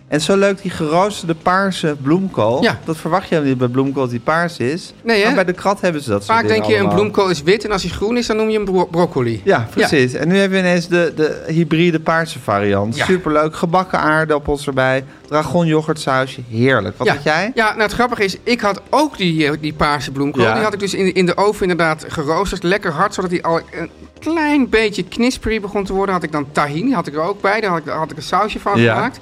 B: En zo leuk die geroosterde paarse bloemkool.
C: Ja.
B: Dat verwacht je helemaal niet bij bloemkool dat die paars is.
C: Nee, hè?
B: Maar bij de krat hebben ze dat soort
C: Vaak
B: dingen
C: denk je, een
B: allemaal.
C: bloemkool is wit en als hij groen is, dan noem je hem bro- broccoli.
B: Ja, precies. En nu hebben we ineens de, de hybride paarse variant.
C: Ja.
B: Superleuk. Gebakken aardappels erbij. Dragon yoghurtsausje. Heerlijk. Wat
C: ja.
B: had jij?
C: Ja, nou het grappige is, ik had ook die, eh, die paarse bloemkool.
B: Ja.
C: Die had ik dus in, in de oven inderdaad geroosterd. Lekker hard, zodat die al een klein beetje knisperig begon te worden. Had ik dan tahini, had ik er ook bij. Daar had ik, had ik een sausje van
B: Ja.
C: gemaakt.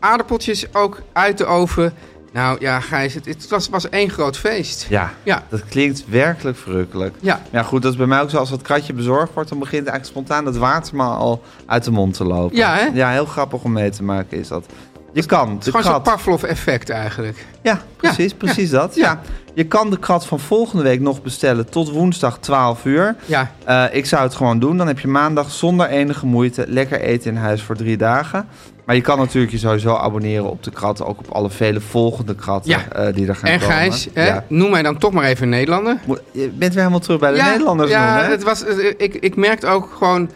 C: Aardappeltjes ook uit de oven. Nou ja, Gijs, het, het was, was één groot feest.
B: Ja.
C: Ja.
B: Dat klinkt werkelijk verrukkelijk.
C: Ja.
B: Ja goed, dat is bij mij ook zo. Als dat kratje bezorgd wordt, dan begint eigenlijk spontaan dat water maar al uit de mond te lopen.
C: Ja, hè?
B: Ja, heel grappig om mee te maken is dat. Je kan, de
C: Het is gewoon zo'n
B: krat.
C: Pavlov-effect eigenlijk.
B: Ja, precies, precies dat. Ja.
C: ja.
B: Je kan de krat van volgende week nog bestellen tot woensdag 12 uur.
C: Ja.
B: Eh, ik zou het gewoon doen. Dan heb je maandag zonder enige moeite lekker eten in huis voor drie dagen. Maar je kan natuurlijk je sowieso abonneren op de krat. Ook op alle vele volgende kratten
C: Ja.
B: eh, die er gaan
C: En
B: komen.
C: Gijs, hè,
B: Ja.
C: noem mij dan toch maar even een Nederlander.
B: Mo- Je bent weer helemaal terug bij de Nederlanders
C: ja,
B: noemen, hè?
C: het was, het- ik, ik merkte ook gewoon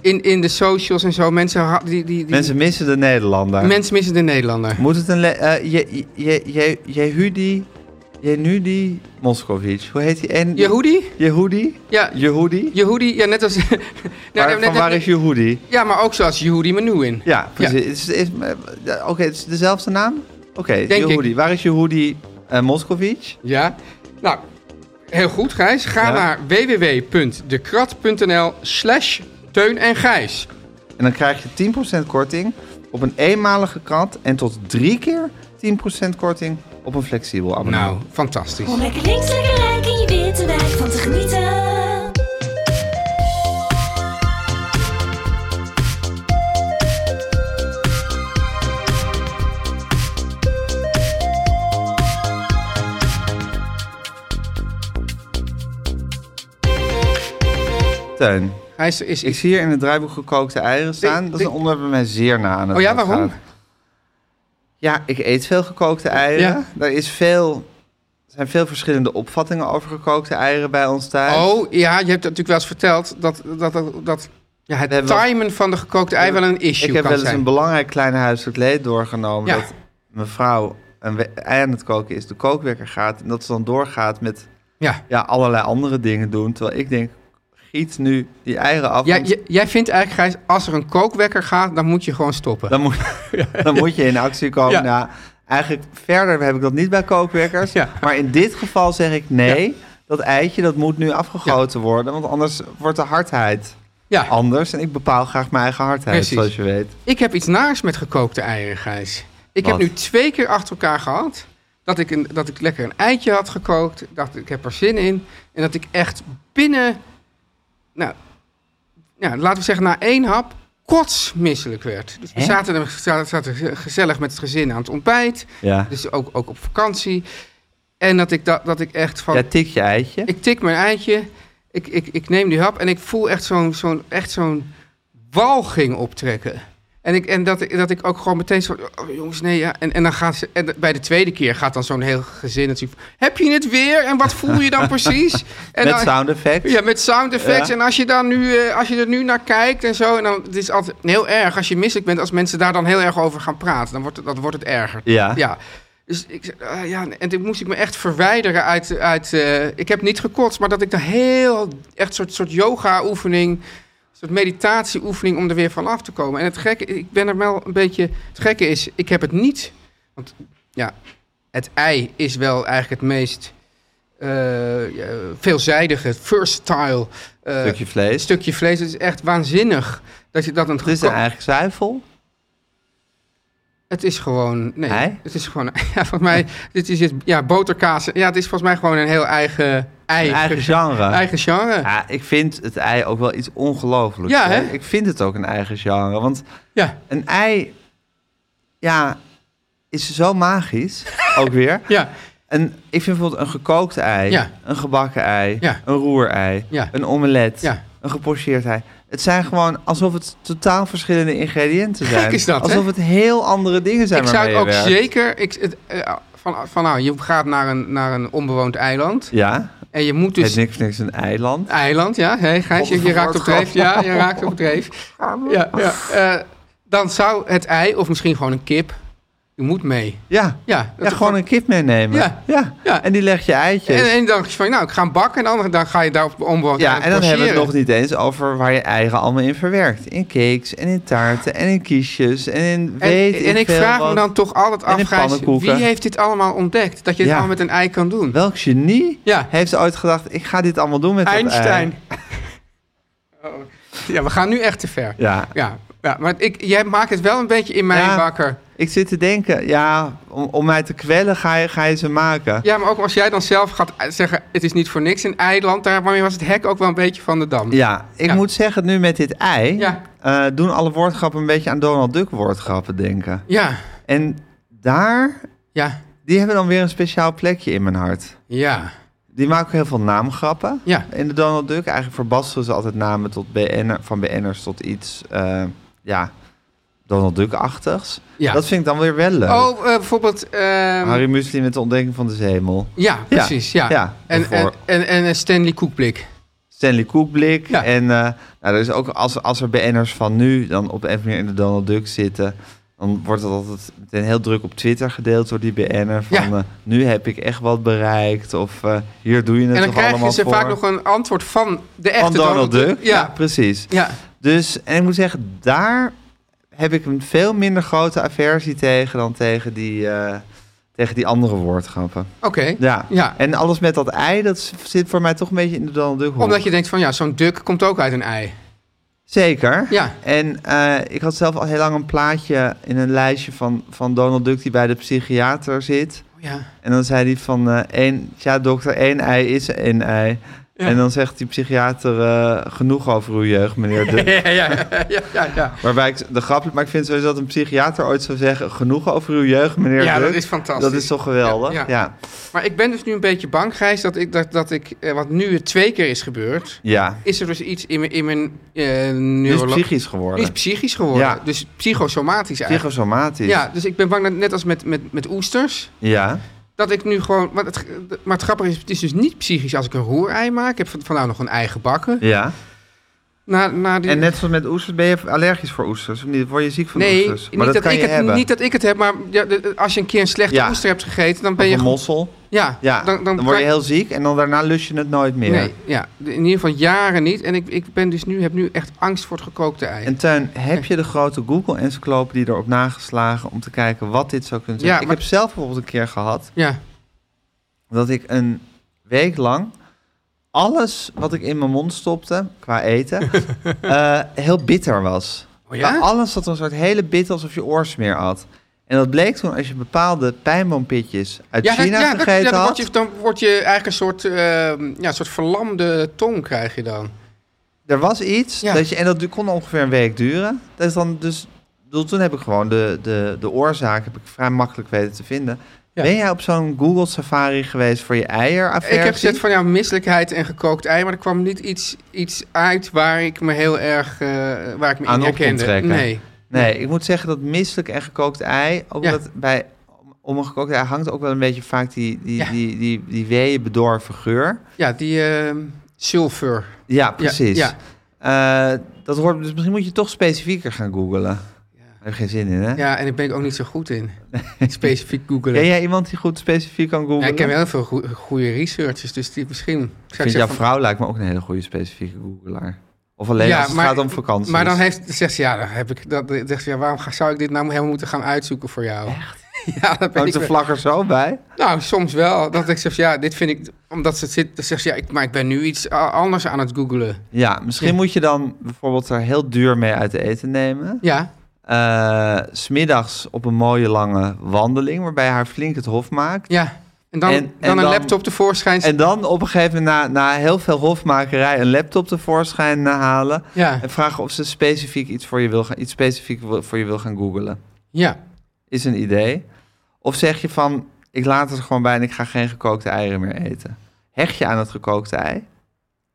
C: in, in de socials en zo, mensen, ha- die, die, die,
B: Mensen missen de Nederlander.
C: mensen missen de Nederlander.
B: Moet het een... le- eh, je je je Jehudi... Jenudi Moskovic. Hoe heet die? En,
C: Yehudi?
B: Yehudi?
C: Ja,
B: Yehudi?
C: Yehudi, ja, net als... Nou,
B: Waar-
C: net-
B: van
C: net-
B: waar is Yehudi?
C: Ja, maar ook zoals Yehudi Menuhin.
B: Ja, precies. Is, is, eh, ja, Oké, het is dezelfde naam? Oké,
C: Denk
B: Yehudi. Waar is Yehudi eh Moskovic?
C: Ja, nou, heel goed Gijs. Ga
B: Ja.
C: naar www.dekrat.nl slash Teun en Gijs.
B: En dan krijg je 10% korting op een eenmalige krant en tot drie keer 10% korting op een flexibel abonnement.
C: Nou, fantastisch.
E: Om lekker links, lekker rijk in je witte wijk van te genieten.
B: Teun,
C: Gijs, er is
B: ik
C: iets...
B: zie hier in het draaiboek gekookte eieren staan.
C: Ik-
B: Dat is een
C: ik-
B: onderwerp dat mij zeer na aan het
C: Oh ja,
B: hart
C: waarom?
B: gaat. Ja, ik eet veel gekookte eieren.
C: Ja.
B: Er, is veel, er zijn veel verschillende opvattingen over gekookte eieren bij ons thuis.
C: Oh, ja, je hebt natuurlijk wel eens verteld dat, dat, dat, dat ja, het
B: We hebben wel-
C: timen van de gekookte ei wel een issue
B: Ik heb
C: kan
B: wel eens
C: zijn.
B: een belangrijk klein huiselijk leed doorgenomen.
C: Ja.
B: Dat mevrouw een we- ei aan het koken is, de kookwekker gaat. En dat ze dan doorgaat met
C: Ja.
B: ja, allerlei andere dingen doen. Terwijl ik denk, giet nu die eieren af.
C: Jij,
B: want
C: jij- jij vindt eigenlijk, Gijs, als er een kookwekker gaat, dan moet je gewoon stoppen.
B: dan, moet, dan moet je in actie komen.
C: Ja.
B: Nou, eigenlijk verder heb ik dat niet bij kookwekkers.
C: Ja.
B: Maar in dit geval zeg ik nee. Dat eitje dat moet nu afgegoten worden, want anders wordt de hardheid
C: ja,
B: anders. En ik bepaal graag mijn eigen hardheid,
C: Precies.
B: zoals je weet.
C: ik heb iets naars met gekookte eieren, Gijs. Ik heb
B: Wat?
C: nu twee keer achter elkaar gehad Dat ik, een, dat ik lekker een eitje had gekookt. Dacht ik heb er zin in. En dat ik echt binnen, nou, ja, laten we zeggen na één hap, kotsmisselijk werd. Dus we
B: Hè?
C: zaten, er- zaten, zaten gezellig met het gezin aan het ontbijt.
B: Ja.
C: Dus ook, ook op vakantie. En dat ik, dat, dat ik echt van...
B: Ja, tik je eitje.
C: Ik tik mijn eitje, ik, ik, ik neem die hap en ik voel echt zo'n zo'n echt zo'n walging optrekken. En, ik, en dat, ik- dat ik ook gewoon meteen zo, oh, jongens, nee, ja. En, en dan gaan ze, en bij de tweede keer gaat dan zo'n heel gezin natuurlijk, heb je het weer? En wat voel je dan precies? En
B: Met
C: dan-
B: sound effects.
C: nou- ja, met sound effects.
B: Ja.
C: En als je, dan nu, eh, als je er nu naar kijkt en zo. En dan, het is altijd heel erg als je misselijk bent. Als mensen daar dan heel erg over gaan praten. Dan wordt het, dan wordt het erger.
B: Ja.
C: Dus ik, zei, ah, ja, en toen moest ik me echt verwijderen uit... uit eh, ik heb niet gekotst, maar dat ik daar heel... Echt soort, soort yoga-oefening... soort meditatie-oefening om er weer van af te komen. En het gekke... Ik ben er wel een beetje... Het gekke is, ik heb het niet... Want ja, het ei is wel eigenlijk het meest... eh, ja, veelzijdige, versatile eh,
B: Stukje vlees.
C: stukje vlees. Het is echt waanzinnig dat je dat aan het
B: Het is
C: geko-
B: eigenlijk zuivel.
C: Het is gewoon. Nee,
B: Ei?
C: het is gewoon. Ja, volgens mij. Dit is het, ja, boterkaas. Ja, het is volgens mij gewoon een heel eigen. Eigen,
B: Een eigen genre.
C: eigen genre. Ja.
B: Ja, ik vind het ei ook wel iets ongelooflijks.
C: Ja,
B: hè?
C: hè?
B: Ik vind het ook een eigen genre. Want een ei, ja, is zo magisch. ook weer.
C: Ja,
B: En ik vind bijvoorbeeld een gekookt ei,
C: Ja.
B: een gebakken ei,
C: Ja.
B: een roerei,
C: Ja.
B: een omelet,
C: Ja.
B: een gepocheerd ei. Het zijn gewoon alsof het totaal verschillende ingrediënten zijn.
C: is dat, hè?
B: alsof het heel andere dingen zijn
C: ik zou
B: waarmee
C: het ook
B: je werkt.
C: zeker. Ik, het, eh, van, van nou, je gaat naar een, naar een onbewoond eiland.
B: Ja,
C: En je moet
B: het
C: dus.
B: is niks, niks een eiland.
C: Eiland, ja. Hé, Gijs, je, je raakt op dreef. Ja, je raakt op dreef. Ja, ja. eh, dan zou het ei, of misschien gewoon een kip. Je moet mee.
B: Ja,
C: Ja,
B: ja gewoon een kip meenemen.
C: Ja.
B: Ja.
C: Ja.
B: en die leg je eitjes.
C: En één dag is van, nou, ik ga hem bakken. En de andere dag ga je daar op de onbewoond
B: Ja,
C: eiland
B: en dan hebben we het
C: logeren.
B: nog niet eens over waar je eigen allemaal in verwerkt. In cakes en in taarten en in kiesjes en in
C: En,
B: weet
C: en ik
B: veel
C: vraag
B: wat.
C: me dan toch altijd
B: En in
C: af, Gijs, wie
B: pannenkoeken.
C: heeft dit allemaal ontdekt? Dat je het
B: Ja.
C: allemaal met een ei kan doen.
B: Welk genie
C: Ja.
B: heeft ooit gedacht, ik ga dit allemaal doen met dat ei?
C: Einstein. Oh. Ja, we gaan nu echt te ver.
B: Ja,
C: Ja, ja, maar ik, jij maakt het wel een beetje in mijn
B: Ja.
C: wakker.
B: ik zit te denken, ja, om, om mij te kwellen ga je, ga je ze maken.
C: Ja, maar ook als jij dan zelf gaat zeggen, het is niet voor niks een eiland. Daarmee was het hek ook wel een beetje van de dam.
B: Ja, ik
C: Ja.
B: moet zeggen, nu met dit ei,
C: Ja.
B: eh, doen alle woordgrappen een beetje aan Donald Duck woordgrappen denken.
C: Ja,
B: En daar,
C: ja,
B: die hebben dan weer een speciaal plekje in mijn hart.
C: ja.
B: Die maken ook heel veel naamgrappen.
C: Ja.
B: In de Donald Duck eigenlijk verbasteren ze altijd namen tot BN, van BN'ers tot iets, eh, ja, Donald Duck-achtigs.
C: Ja.
B: Dat vind ik dan weer wel leuk.
C: Oh, eh, bijvoorbeeld... ehm,
B: Harry Muslim met de ontdekking van de zemel.
C: Ja, precies, ja.
B: ja,
C: en, en,
B: daarvoor.
C: en, en een Stanley Koekblik.
B: Stanley Koekblik.
C: Ja.
B: En eh, nou, er is ook als, als er BN'ers van nu dan op een of andere manier in de Donald Duck zitten... dan wordt dat altijd meteen heel druk op Twitter gedeeld door die BN'er. Van
C: Ja.
B: eh, nu heb ik echt wat bereikt. Of eh, hier doe je het
C: En dan
B: toch
C: krijg
B: allemaal
C: je ze
B: voor.
C: vaak nog een antwoord van de echte
B: van Donald, Duck. Ja.
C: Ja,
B: precies.
C: ja.
B: Dus, en ik moet zeggen, daar heb ik een veel minder grote aversie tegen... dan tegen die, eh, tegen die andere woordgrappen.
C: oké.
B: Ja.
C: Ja.
B: en alles met dat ei, dat z- zit voor mij toch een beetje in de Donald Duck. hoek.
C: Omdat je denkt van ja, zo'n duk komt ook uit een ei.
B: Zeker.
C: Ja.
B: En eh, ik had zelf al heel lang een plaatje in een lijstje van, van Donald Duck die bij de psychiater zit.
C: Ja.
B: En dan zei hij van, eh één, ja dokter, één ei is één ei. En dan zegt die psychiater, eh, genoeg over uw jeugd, meneer Duck.
C: Ja, ja, ja, ja, ja.
B: Waarbij ik de grap, maar ik vind sowieso dat een psychiater ooit zou zeggen, genoeg over uw jeugd, meneer
C: Ja,
B: Duck.
C: dat is fantastisch.
B: Dat is toch geweldig?
C: Ja,
B: Ja.
C: ja.
B: ja.
C: Maar ik ben dus nu een beetje bang, Gijs, dat ik, dat, dat ik eh, want nu het twee keer is gebeurd, is er dus iets in mijn, in mijn
B: Nu
C: eh
B: is
C: neurolo-
B: het psychisch
C: Nu
B: geworden.
C: is het psychisch geworden.
B: Ja.
C: Dus psychosomatisch eigenlijk.
B: Psychosomatisch.
C: Ja, dus ik ben bang dat net als met, met, met oesters,
B: ja.
C: dat ik nu gewoon. Want het, maar het grappige is, het is dus niet psychisch als ik een roerei maak. Ik heb van- vandaag nog een ei gebakken.
B: ja.
C: Na, na die,
B: En net zoals met oesters, ben je allergisch voor oesters? Of niet? Word je ziek van
C: nee,
B: oesters?
C: niet, dat ik
B: je
C: het,
B: hebben.
C: niet dat ik het heb, maar ja, de- de- als je een keer een slechte
B: Ja.
C: oester hebt gegeten, dan ben
B: Of
C: je
B: een
C: gewoon-
B: mossel.
C: Ja,
B: Ja, dan, word je
C: kan-
B: heel ziek en dan daarna lus je het nooit meer.
C: Nee, ja, de- in ieder geval jaren niet. En ik, ik ben dus nu, heb nu echt angst voor het gekookte ei.
B: En Tuin, heb je de grote Google-encyclopedie erop nageslagen om te kijken wat dit zou kunnen zijn?
C: Ja,
B: ik
C: maar-
B: heb zelf bijvoorbeeld een keer gehad
C: ja,
B: dat ik een week lang alles wat ik in mijn mond stopte qua eten eh, heel bitter was.
C: Oh ja?
B: Maar Alles had een soort hele bitter alsof je oorsmeer at. En dat bleek toen als je bepaalde pijnboompitjes uit
C: Ja, dat-
B: China
C: ja, dat- ja,
B: gegeten
C: dan, word
B: had.
C: je, dan word je eigenlijk een soort, eh, ja, een soort verlamde tong krijg je dan.
B: Er was iets,
C: Ja.
B: dat je, en dat du- kon ongeveer een week duren. Dat is dan dus, ik bedoel, toen heb ik gewoon de, de, de oorzaak heb ik vrij makkelijk weten te vinden.
C: Ja.
B: Ben jij op zo'n Google Safari geweest voor je eieraffaire?
C: Ik heb gezegd van ja, misselijkheid en gekookt ei, maar er kwam niet iets, iets uit waar ik me heel erg eh, waar ik me
B: Aan
C: in
B: op kon
C: herkende.
B: trekken.
C: Nee.
B: Nee, ik moet zeggen dat misselijk en gekookt ei, ook
C: Ja.
B: dat bij om een gekookt ei hangt ook wel een beetje vaak die, die,
C: Ja.
B: die, die, die weeën bedorven geur.
C: Ja, die eh, sulfur.
B: Ja, precies.
C: Ja,
B: Eh, dat hoort, dus misschien moet je toch specifieker gaan googlen. Daar heb je geen zin in, hè?
C: ja. ja, en ik ben ik ook niet zo goed in. Specifiek googlen.
B: Ken jij iemand die goed specifiek kan googlen?
C: Ja, ik ken wel heel veel goe- goede researchers, dus die misschien... zou ik
B: Ik vind
C: zeggen
B: jouw
C: van-
B: vrouw lijkt me ook een hele goede specifieke googelaar. Of alleen
C: Ja,
B: als het
C: maar-
B: gaat om vakanties.
C: Maar dan heeft, zegt ze, ja, dan heb ik, dat, dan zegt ze, ja, waarom ga- zou ik dit nou helemaal moeten gaan uitzoeken voor jou? Echt? Ja, dat ben
B: Hangt
C: ik
B: de
C: wel-
B: vlag er zo bij?
C: Nou, soms wel. Dat ik zeg, ja, dit vind ik... Omdat ze het zit, dan zegt ze, ja, ik, maar ik ben nu iets a- anders aan het googelen.
B: Ja, misschien
C: Ja.
B: moet je dan bijvoorbeeld er heel duur mee uit eten nemen.
C: Ja,
B: Eh, Smiddags op een mooie lange wandeling, waarbij je haar flink het hof maakt.
C: ja. En dan,
B: En- en
C: dan een
B: dan-
C: laptop tevoorschijn.
B: En dan op een gegeven moment na, na heel veel hofmakerij een laptop tevoorschijn eh, halen.
C: ja,
B: En vragen of ze specifiek iets voor je wil gaan, iets specifiek wil- voor je wil gaan googlen.
C: ja.
B: Is een idee. Of zeg je van, ik laat het er gewoon bij en ik ga geen gekookte eieren meer eten. Hecht je aan het gekookte ei?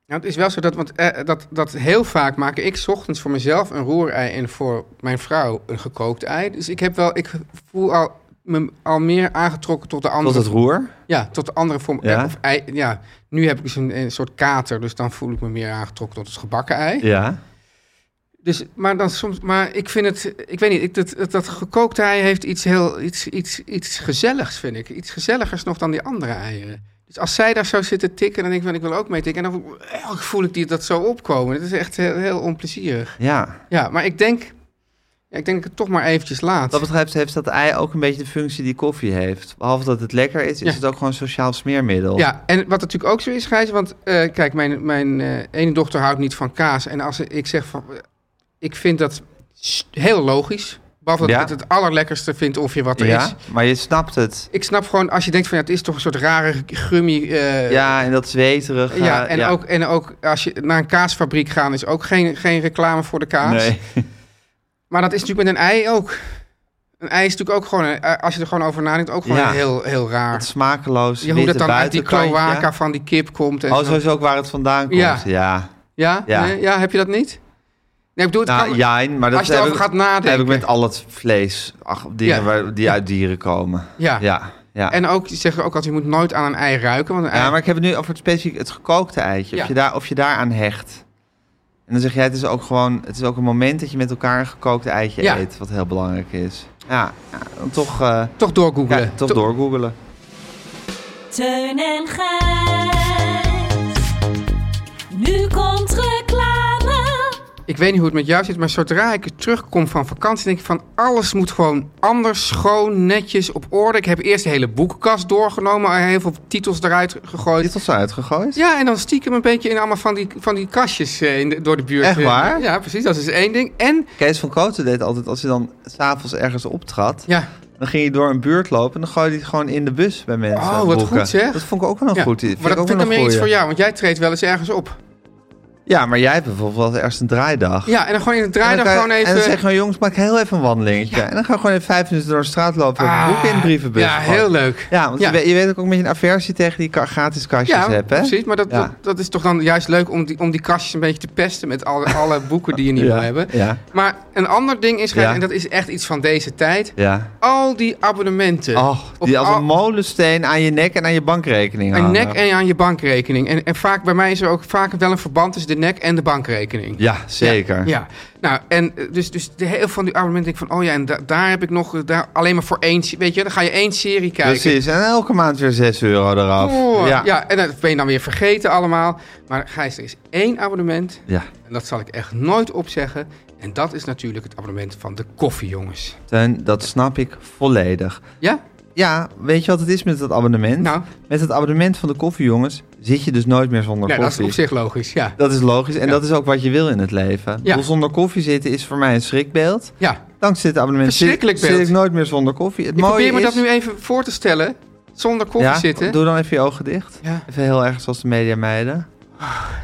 C: Nou, het is wel zo dat, want, eh, dat, dat heel vaak maak ik 's ochtends voor mezelf een roerei en voor mijn vrouw een gekookt ei. Dus ik heb wel, ik voel al, me al meer aangetrokken tot de andere
B: Tot het roer?
C: Ja, tot de andere vorm. eh,
B: Ja?
C: Of ei, ja. Nu heb ik dus een, een soort kater, dus dan voel ik me meer aangetrokken tot het gebakken ei.
B: Ja.
C: Dus, maar, dan soms, maar ik vind het, ik weet niet, ik, dat, dat, dat gekookte ei heeft iets heel, iets, iets, iets gezelligs, vind ik. Iets gezelligers nog dan die andere eieren. Dus als zij daar zo zitten tikken, dan denk ik van, ik wil ook mee tikken. En dan eh, voel ik die, dat zo opkomen. Het is echt heel, heel onplezierig.
B: Ja.
C: Ja, maar ik denk, ja, ik denk dat ik het toch maar eventjes laat.
B: Wat dat betreft heeft dat ei ook een beetje de functie die koffie heeft. Behalve dat het lekker is, is
C: Ja.
B: het ook gewoon een sociaal smeermiddel.
C: Ja, en wat natuurlijk ook zo is, Gijs, want eh, kijk, mijn, mijn eh, ene dochter houdt niet van kaas. En als ik zeg van, eh, ik vind dat s- heel logisch. Behalve dat
B: Ja.
C: ik het het allerlekkerste vind of je wat er is.
B: ja? Maar je snapt het.
C: Ik snap gewoon, als je denkt van, ja, het is toch een soort rare grummy... eh,
B: Ja, en dat zweterig.
C: ja, en, Ook, en ook als je naar een kaasfabriek gaat, is ook geen, geen reclame voor de kaas.
B: Nee.
C: Maar dat is natuurlijk met een ei ook. Een ei is natuurlijk ook gewoon, eh, als je er gewoon over nadenkt, ook gewoon
B: Ja.
C: heel, heel raar.
B: Het smakeloos.
C: Ja, hoe dat
B: witte
C: dan uit die
B: buitenkantje.
C: kloaka van die kip komt. En
B: Oh,
C: zo.
B: zo is ook waar het vandaan komt.
C: Ja.
B: Ja. Ja,
C: Ja?
B: Ja.
C: Nee? ja, heb je dat niet? Nee, ik bedoel, het
B: nou,
C: kan-
B: jijn, maar dat
C: als je erover
B: heb ik-
C: gaat nadenken.
B: heb ik met al het vlees. Ach, dingen
C: Ja.
B: waar, die uit dieren komen.
C: ja.
B: Ja. Ja.
C: En ook, ze zeggen ook altijd, je moet nooit aan een ei ruiken. Want een ei...
B: ja, maar ik heb het nu over het specifiek het gekookte eitje.
C: Ja.
B: Of, je daar, of je daaraan hecht. En dan zeg jij, het is ook gewoon, het is ook een moment dat je met elkaar een gekookt eitje
C: Ja.
B: eet, wat heel belangrijk is. Ja, ja, dan toch, eh
C: Toch
B: ja,
C: doorgoogelen.
B: toch
C: To-
B: doorgoogelen.
E: Teun en Gijs. Nu komt reclame.
C: Ik weet niet hoe het met jou zit, maar zodra ik terugkom van vakantie, denk ik van alles moet gewoon anders, schoon, netjes, op orde. Ik heb eerst de hele boekenkast doorgenomen, heel veel titels eruit gegooid.
B: Dit was zo uitgegooid.
C: Ja, en dan stiekem een beetje in allemaal van die, van die kastjes eh, in de- door de buurt.
B: Echt waar?
C: Ja, precies. Dat is één ding. En,
B: Kees van Kooten deed altijd, als hij dan s'avonds ergens optrad,
C: ja,
B: dan ging hij door een buurt lopen en dan gooide hij het gewoon in de bus bij mensen.
C: Oh, wat
B: boeken.
C: goed, zeg.
B: Dat vond ik ook wel een
C: ja.
B: goed idee.
C: maar dat
B: ook
C: vind ik
B: wel
C: dan
B: een
C: meer iets
B: goeie.
C: voor jou, want jij treedt wel eens ergens op.
B: Ja, maar jij hebt bijvoorbeeld wel eens ergens een draaidag.
C: Ja, en dan gewoon in het
B: En
C: draaidag
B: dan,
C: gewoon
B: kan je-
C: even...
B: en dan zeg je gewoon, jongens, maak heel even een wandelingetje. En dan gaan we gewoon even vijf minuten door de straat lopen. en
C: Ah,
B: een boek in de brievenbus.
C: Ja,
B: gooien.
C: heel leuk.
B: Ja, want
C: Ja.
B: Je, weet, je weet ook een beetje een aversie tegen die ka- gratis kastjes
C: Ja,
B: hebt, hè?
C: precies. Maar dat,
B: Ja.
C: dat, dat is toch dan juist leuk om die, om die kastjes een beetje te pesten met alle, alle boeken die je niet wil
B: Ja,
C: hebben.
B: ja.
C: Maar een ander ding is,
B: Ja.
C: en dat is echt iets van deze tijd,
B: Ja.
C: al die abonnementen.
B: Oh,
C: Op
B: die als
C: al-
B: een molensteen aan je nek en aan je bankrekening
C: Aan je
B: hangen.
C: nek en aan je bankrekening. En, en vaak, bij mij is er ook vaak wel een verband tussen de nek en de bankrekening.
B: Ja, zeker.
C: Ja, nou, en eh, dus, dus de heel van die abonnementen denk ik van, oh ja, en da- daar heb ik nog, eh, daar, alleen maar voor één, se- weet je, dan ga je één serie kijken.
B: Precies, en Dus elke maand weer 6 euro eraf.
C: Oh, ja.
B: ja.
C: en dat ben je dan weer vergeten allemaal. Maar Gijs, er is één abonnement.
B: Ja.
C: En dat zal ik echt nooit opzeggen. En dat is natuurlijk het abonnement van de koffie, jongens.
B: Teun, dat snap ik volledig.
C: Ja?
B: Ja, weet je wat het is met dat abonnement?
C: Nou.
B: Met het abonnement van de koffiejongens zit je dus nooit meer zonder
C: Ja, dat is
B: koffie.
C: op zich logisch, ja.
B: Dat is logisch en dat is ook wat je wil in het leven. Ik
C: Ja.
B: bedoel, Zonder koffie zitten is voor mij een schrikbeeld.
C: ja.
B: Dankzij dit abonnement zit-
C: Verschrikkelijk
B: zit,
C: beeld.
B: ik nooit meer zonder koffie. Het
C: Ik
B: mooie
C: probeer me
B: is,
C: dat nu even voor te stellen. Zonder koffie
B: ja,
C: zitten.
B: Doe dan even je ogen dicht.
C: Ja.
B: Even heel erg zoals de media meiden.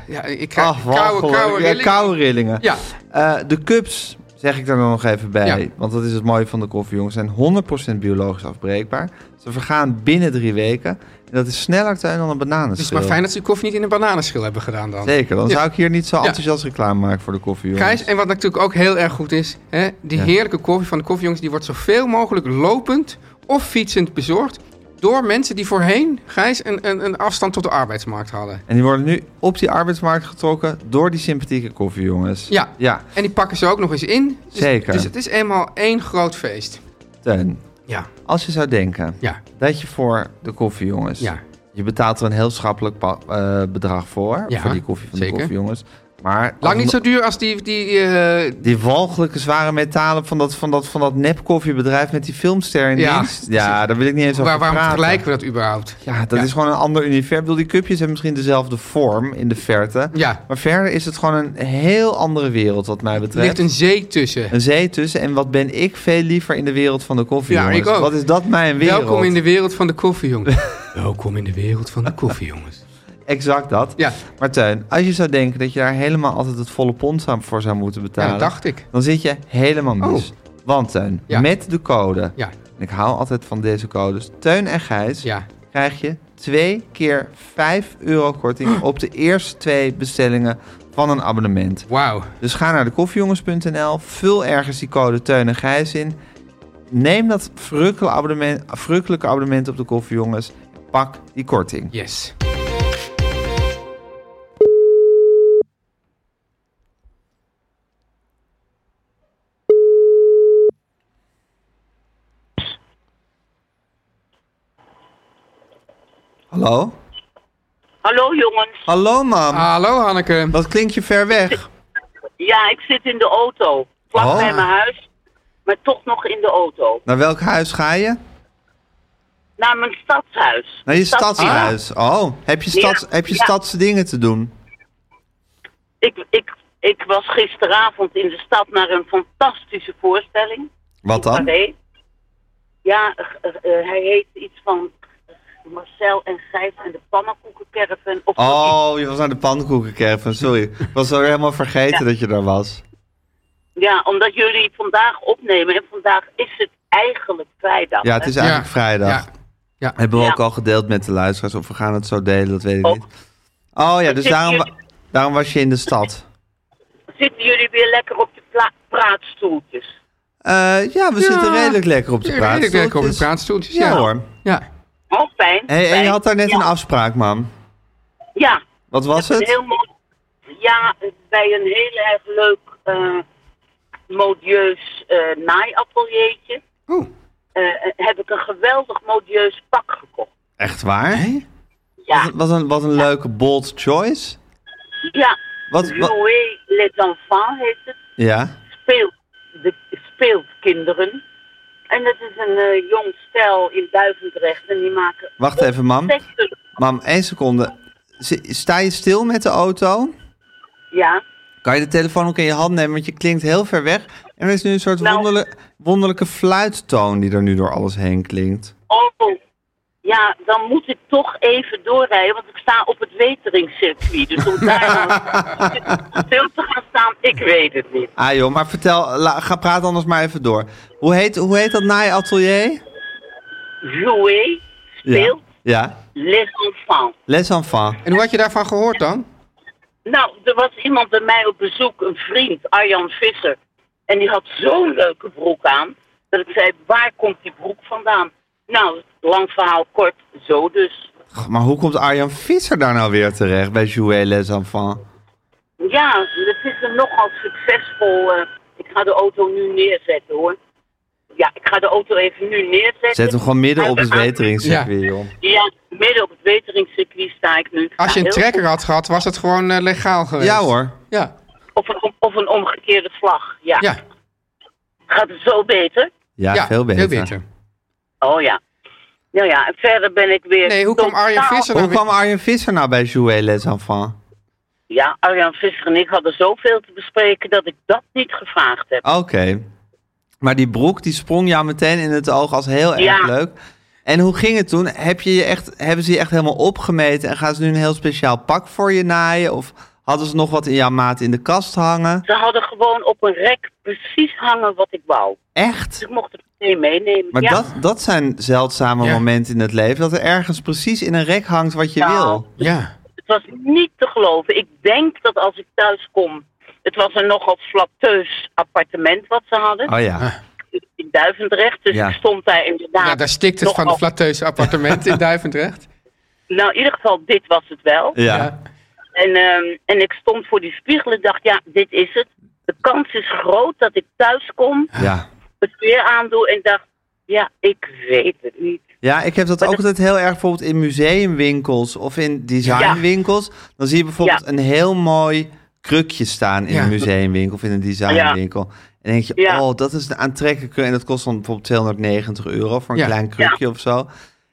C: Ja, ik krijg koude,
B: walgelijk.
C: koude
B: Ja,
C: rillingen.
B: koude rillingen.
C: Ja, dus
B: Eh, de cups zeg ik daar dan nog even bij.
C: Ja.
B: Want dat is het mooie van de koffie, jongens. Zijn 100% biologisch afbreekbaar. Ze vergaan binnen drie weken. En dat is sneller tuin dan een
C: het is
B: bananenschil.
C: maar fijn dat ze die koffie niet in een bananenschil hebben gedaan dan.
B: Zeker, dan
C: Ja.
B: zou ik hier niet zo
C: Ja.
B: enthousiast reclame maken voor de koffie, jongens.
C: Gijs, en wat natuurlijk ook heel erg goed is, hè, die
B: Ja.
C: heerlijke koffie van de koffiejongens, die wordt zoveel mogelijk lopend of fietsend bezorgd door mensen die voorheen, Gijs, een, een, een afstand tot de arbeidsmarkt hadden.
B: En die worden nu op die arbeidsmarkt getrokken door die sympathieke koffie, jongens.
C: Ja.
B: Ja,
C: En die pakken ze ook nog eens in. Dus,
B: Zeker.
C: Dus het is eenmaal één groot feest.
B: Teun.
C: Ja.
B: Als je zou denken
C: Ja.
B: dat je voor de koffie, jongens...
C: Ja.
B: Je betaalt er een heel schappelijk pa- eh, bedrag voor,
C: Ja,
B: voor die koffie van
C: zeker.
B: de koffie, jongens. Maar
C: Lang
B: als-
C: niet zo duur als die, die eh,
B: Die walgelijke zware metalen van dat, van dat, van dat nepkoffiebedrijf met die filmster in
C: Ja.
B: dienst. Ja, daar wil ik niet eens over
C: waar, waarom
B: praten.
C: vergelijken we dat überhaupt?
B: Ja, dat
C: Ja.
B: is gewoon een ander universum. Ik bedoel, die cupjes hebben misschien dezelfde vorm in de verte.
C: Ja.
B: Maar verder is het gewoon een heel andere wereld wat mij
C: Er ligt
B: betreft.
C: een zee tussen.
B: Een zee tussen. En wat ben ik veel liever in de wereld van de koffie,
C: Ja,
B: jongens.
C: ik ook.
B: Wat is dat mijn wereld?
C: Welkom in de wereld van de koffie, jongens. Welkom in de wereld van de koffie, jongens.
B: Exact dat.
C: Ja.
B: Maar Teun, als je zou denken dat je daar helemaal altijd het volle pond aan- voor zou moeten
C: Ja,
B: betalen...
C: dat dacht ik.
B: Dan zit je helemaal mis. Want Teun,
C: Oh. Ja.
B: met de code...
C: Ja,
B: En ik hou altijd van deze codes. Teun en Gijs
C: ja.
B: krijg je twee keer 5 euro korting op de eerste twee bestellingen van een abonnement.
C: Wauw.
B: Dus ga naar de koffiejongens.nl, vul ergens die code Teun en Gijs in. Neem dat verrukkelijke abonnement, verrukkelijke abonnement op de koffiejongens. Pak die korting.
C: Yes.
B: Hallo?
F: Hallo jongens.
B: Hallo mam.
C: Hallo Hanneke.
B: Dat klinkt je ver weg.
F: Ja, ik zit in de auto. Vlak
B: Oh.
F: bij mijn huis, maar toch nog in de auto.
B: Naar welk huis ga je?
F: Naar mijn stadshuis.
B: Naar je
F: Stads-
B: stadshuis. Oh, heb je, stads,
F: Ah. Ja.
B: heb je
F: Ja.
B: stadse dingen te doen?
F: Ik, ik, ik was gisteravond in de stad naar een fantastische voorstelling.
B: Wat dan?
F: Carré. Ja, eh, eh, eh, hij heet iets van Marcel en Gijs en de pannenkoekenkerven. Of
B: Oh, je was naar de pannenkoekenkerven, sorry. Ik was alweer helemaal vergeten dat je daar was.
F: Ja, omdat jullie vandaag opnemen en vandaag is het eigenlijk vrijdag.
B: Ja, het is
F: hè?
B: eigenlijk
C: Ja.
B: vrijdag.
C: Ja. Ja.
B: Hebben we
F: Ja.
B: ook al gedeeld met de luisteraars of we gaan het zo delen, dat weet ik
F: Oh.
B: niet. Oh ja, dus
F: zitten
B: daarom, wa-
F: jullie-
B: daarom was je in de stad.
F: Zitten jullie weer lekker op de pla- praatstoeltjes?
B: Eh, ja, we zitten redelijk lekker op de
C: Ja,
B: praat.
C: redelijk lekker op de praatstoeltjes. Ja,
B: Ja hoor.
C: Ja.
F: Oh, fijn.
B: Hey, en
F: fijn.
B: je had daar net
F: Ja.
B: een afspraak, mam.
F: Ja,
B: Wat was
F: Een
B: het?
F: heel mooi- ja, bij een heel erg leuk eh, modieus eh, naaiateliertje
C: Oeh.
F: eh, heb ik een geweldig modieus pak gekocht.
B: Echt waar?
F: Ja,
B: Wat een, wat een leuke bold choice.
F: ja.
B: Wat, wat,
F: Jouer les enfants heet het.
B: ja.
F: Speelt, de, speelt kinderen. En dat is een eh, jong stel in Duivendrecht. En die maken
B: Wacht even, mam.
F: ontzettend-
B: Mam, één seconde. Z- Sta je stil met de auto?
F: Ja,
B: Kan je de telefoon ook in je hand nemen, want je klinkt heel ver weg. En er is nu een soort
F: Nou.
B: wonderlijk- wonderlijke fluittoon die er nu door alles heen klinkt.
F: oh. Ja, dan moet ik toch even doorrijden, want ik sta op het weteringscircuit. Dus om daar dan stil te gaan staan, ik weet het niet.
B: Ah joh, maar vertel, la- ga praat anders maar even door. Hoe heet, hoe heet dat naaiatelier?
F: Jouer speelt
B: Ja,
F: les enfants.
B: les enfants.
C: En hoe had je daarvan gehoord dan?
F: Nou, er was iemand bij mij op bezoek, een vriend, Arjan Visser. En die had zo'n leuke broek aan, dat ik zei, waar komt die broek vandaan? Nou, lang verhaal kort, zo dus.
B: Goh, Maar hoe komt Arjan Visser daar nou weer terecht bij Jouet les enfants?
F: Ja, het is een nogal succesvol... eh, ik ga de auto nu neerzetten, hoor. Ja, ik ga de auto even nu neerzetten.
B: Zet hem gewoon midden op het weteringscircuit,
C: Ja.
B: joh.
F: Ja, midden op het weteringscircuit sta ik nu.
C: Als je
F: Ja,
C: een
F: heel
C: trekker had gehad, was het gewoon eh, legaal geweest.
B: Ja hoor.
C: Ja.
F: Of een, om- of een omgekeerde vlag, ja.
C: Ja.
F: Gaat het zo beter?
B: Ja,
C: ja,
B: veel beter.
C: Veel beter.
F: Oh ja. Nou ja, en verder ben ik weer.
C: Nee, hoe kwam Arjen
F: totaal-
C: Visser
B: Hoe
C: nou
B: kwam Arjen Visser nou bij Jouet Les Enfants?
F: Ja, Arjan Visser en ik hadden zoveel te bespreken dat ik dat niet gevraagd heb.
B: Oké. Maar die broek die sprong jou meteen in het oog als heel erg
F: Ja.
B: leuk. En hoe ging het toen? Heb je je echt, hebben ze je echt helemaal opgemeten en gaan ze nu een heel speciaal pak voor je naaien? Of hadden ze nog wat in jouw maat in de kast hangen?
F: Ze hadden gewoon op een rek precies hangen wat ik wou. Dus
B: Echt?
F: ik mocht het meteen meenemen.
B: Maar
F: ja.
B: dat, dat zijn zeldzame
C: Ja.
B: momenten in het leven. Dat er ergens precies in een rek hangt wat je
F: Nou,
B: wil.
C: Ja.
F: Het was niet te geloven. Ik denk dat als ik thuis kom... Het was een nogal flatteus appartement wat ze hadden.
B: Oh ja.
F: In Duivendrecht. Dus
B: Ja.
F: ik stond daar inderdaad...
C: ja, daar stikt het van het
F: nogal-
C: flatteuze appartement in Duivendrecht.
F: Nou, in ieder geval, dit was het wel.
B: Ja.
F: En, ehm, en ik stond voor die spiegel en dacht... Ja, dit is het. De kans is groot dat ik thuis kom...
B: Ja.
F: het weer aandoe en dacht... Ja, ik weet het niet.
B: Ja, ik heb dat ook altijd heel erg bijvoorbeeld in museumwinkels of in designwinkels. Dan zie je bijvoorbeeld
F: Ja.
B: een heel mooi krukje staan in
C: Ja.
B: een museumwinkel of in een designwinkel. En dan denk je,
F: Ja.
B: oh, dat is een aantrekkelijke en dat kost dan bijvoorbeeld 290 euro voor een
C: Ja.
B: klein krukje of zo.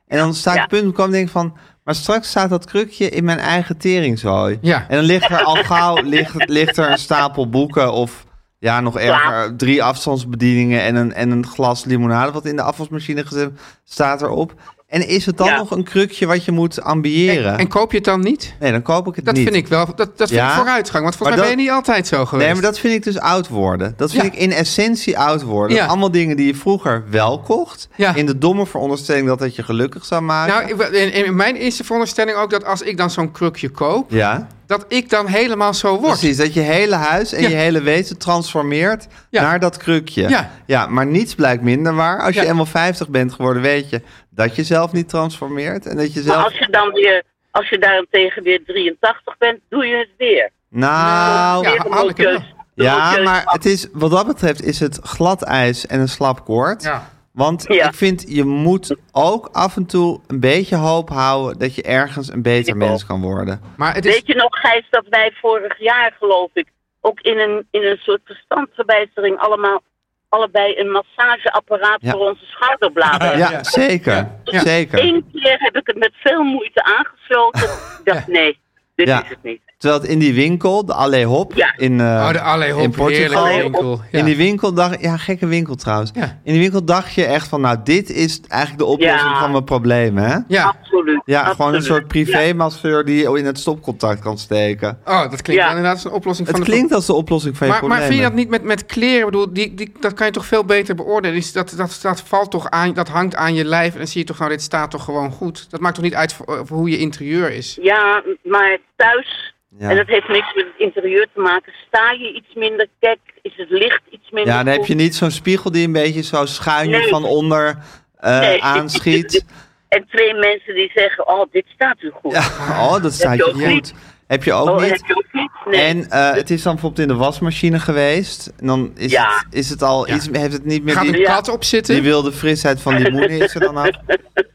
B: En dan sta ik
F: Ja.
B: op het punt kwam en denk van, maar straks staat dat krukje in mijn eigen teringzooi.
C: Ja.
B: En dan ligt er al gauw ligt, ligt er een stapel boeken of ja, nog erger, eh, drie afstandsbedieningen en een, en een glas limonade wat in de afwasmachine gezet staat erop. En is het dan
F: Ja.
B: nog een krukje wat je moet ambiëren?
C: En koop je het dan niet?
B: nee, dan koop ik het
C: Dat
B: niet.
C: vind ik wel, dat, dat vind
B: Ja.
C: ik vooruitgang. Want volgens
B: Maar dat-
C: mij ben je niet altijd zo geweest.
B: Nee, maar dat vind ik dus oud worden. Dat vind
C: Ja.
B: ik in essentie oud worden.
C: Ja.
B: Allemaal dingen die je vroeger wel kocht.
C: Ja.
B: In de domme veronderstelling dat dat je gelukkig zou maken.
C: Nou, ik- in, in mijn eerste veronderstelling ook dat als ik dan zo'n krukje koop,
B: ja,
C: dat ik dan helemaal zo word.
B: precies. Dat je hele huis en
C: Ja.
B: je hele wezen transformeert
C: Ja.
B: naar dat krukje.
C: Ja.
B: maar niets blijkt minder waar. Als
C: Ja.
B: je eenmaal 50 bent geworden, weet je dat je zelf niet transformeert. En dat je
F: Maar
C: Nou,
B: zelf...
F: als je dan weer... Als je daarentegen weer 83 bent, doe je het weer.
B: Nou,
C: Ja,
F: Weer een
C: Hanneke
F: modieus- een
B: Ja,
F: modieus
B: maar
F: pak.
B: het is, wat dat betreft is het glad ijs en een slap koord.
C: Ja.
B: Want
F: Ja.
B: ik vind, je moet ook af en toe een beetje hoop houden dat je ergens een beter
F: Ik ook.
B: mens kan worden.
C: Maar het is,
F: Weet je nog, Gijs, dat wij vorig jaar, geloof ik, ook in een, in een soort verstandsverbijstering allemaal allebei een massageapparaat
B: Ja.
F: voor onze schouderbladen.
B: Ja, zeker. Zeker.
F: Eén keer heb ik het met veel moeite aangesloten. Ik dacht, nee, dit
B: Ja.
F: is het niet.
B: Terwijl het in die winkel, de Alley Hop
F: Ja.
B: in, eh,
C: oh, de Alley
B: in
C: Hop,
B: Portugal.
C: heerlijke winkel. Ja.
B: In die winkel dacht ja, gekke winkel trouwens.
C: Ja.
B: In die winkel dacht je echt van, nou, dit is eigenlijk de oplossing
F: Ja.
B: van mijn probleem, hè?
C: ja.
F: Absoluut.
B: Ja, gewoon een
F: absoluut.
B: soort privé-masseur die in het stopcontact kan steken.
C: Oh, dat klinkt wel
F: Ja.
C: inderdaad als een oplossing
B: Het
C: van de
B: klinkt als de oplossing van je
C: Maar, maar
B: probleem.
C: vind je dat niet met, met kleren? Ik bedoel, die, die, dat kan je toch veel beter beoordelen? Dus dat, dat, dat, valt toch aan, dat hangt aan je lijf en dan zie je toch nou, dit staat toch gewoon goed? Dat maakt toch niet uit voor- eh, voor hoe je interieur is?
F: Ja, maar thuis,
B: Ja.
F: en dat heeft niks met het interieur te maken, sta je iets minder kijk, is het licht iets minder
B: Ja, dan heb
F: goed?
B: je niet zo'n spiegel die een beetje zo schuin je
F: Nee.
B: van onder eh,
F: Nee.
B: aanschiet.
F: En twee mensen die zeggen, oh, dit staat u goed.
B: Ja, oh, dat staat
F: je
B: je
F: ook
B: goed.
F: niet.
B: Heb je ook
F: oh,
B: niet.
F: heb je ook niet? Nee.
B: En eh, het is dan bijvoorbeeld in de wasmachine geweest. En dan is,
F: Ja.
B: het, is het al iets, heeft het niet meer
C: Gaat een
B: die,
F: Ja.
C: kat op zitten?
B: die wilde frisheid van die moeder is er dan af.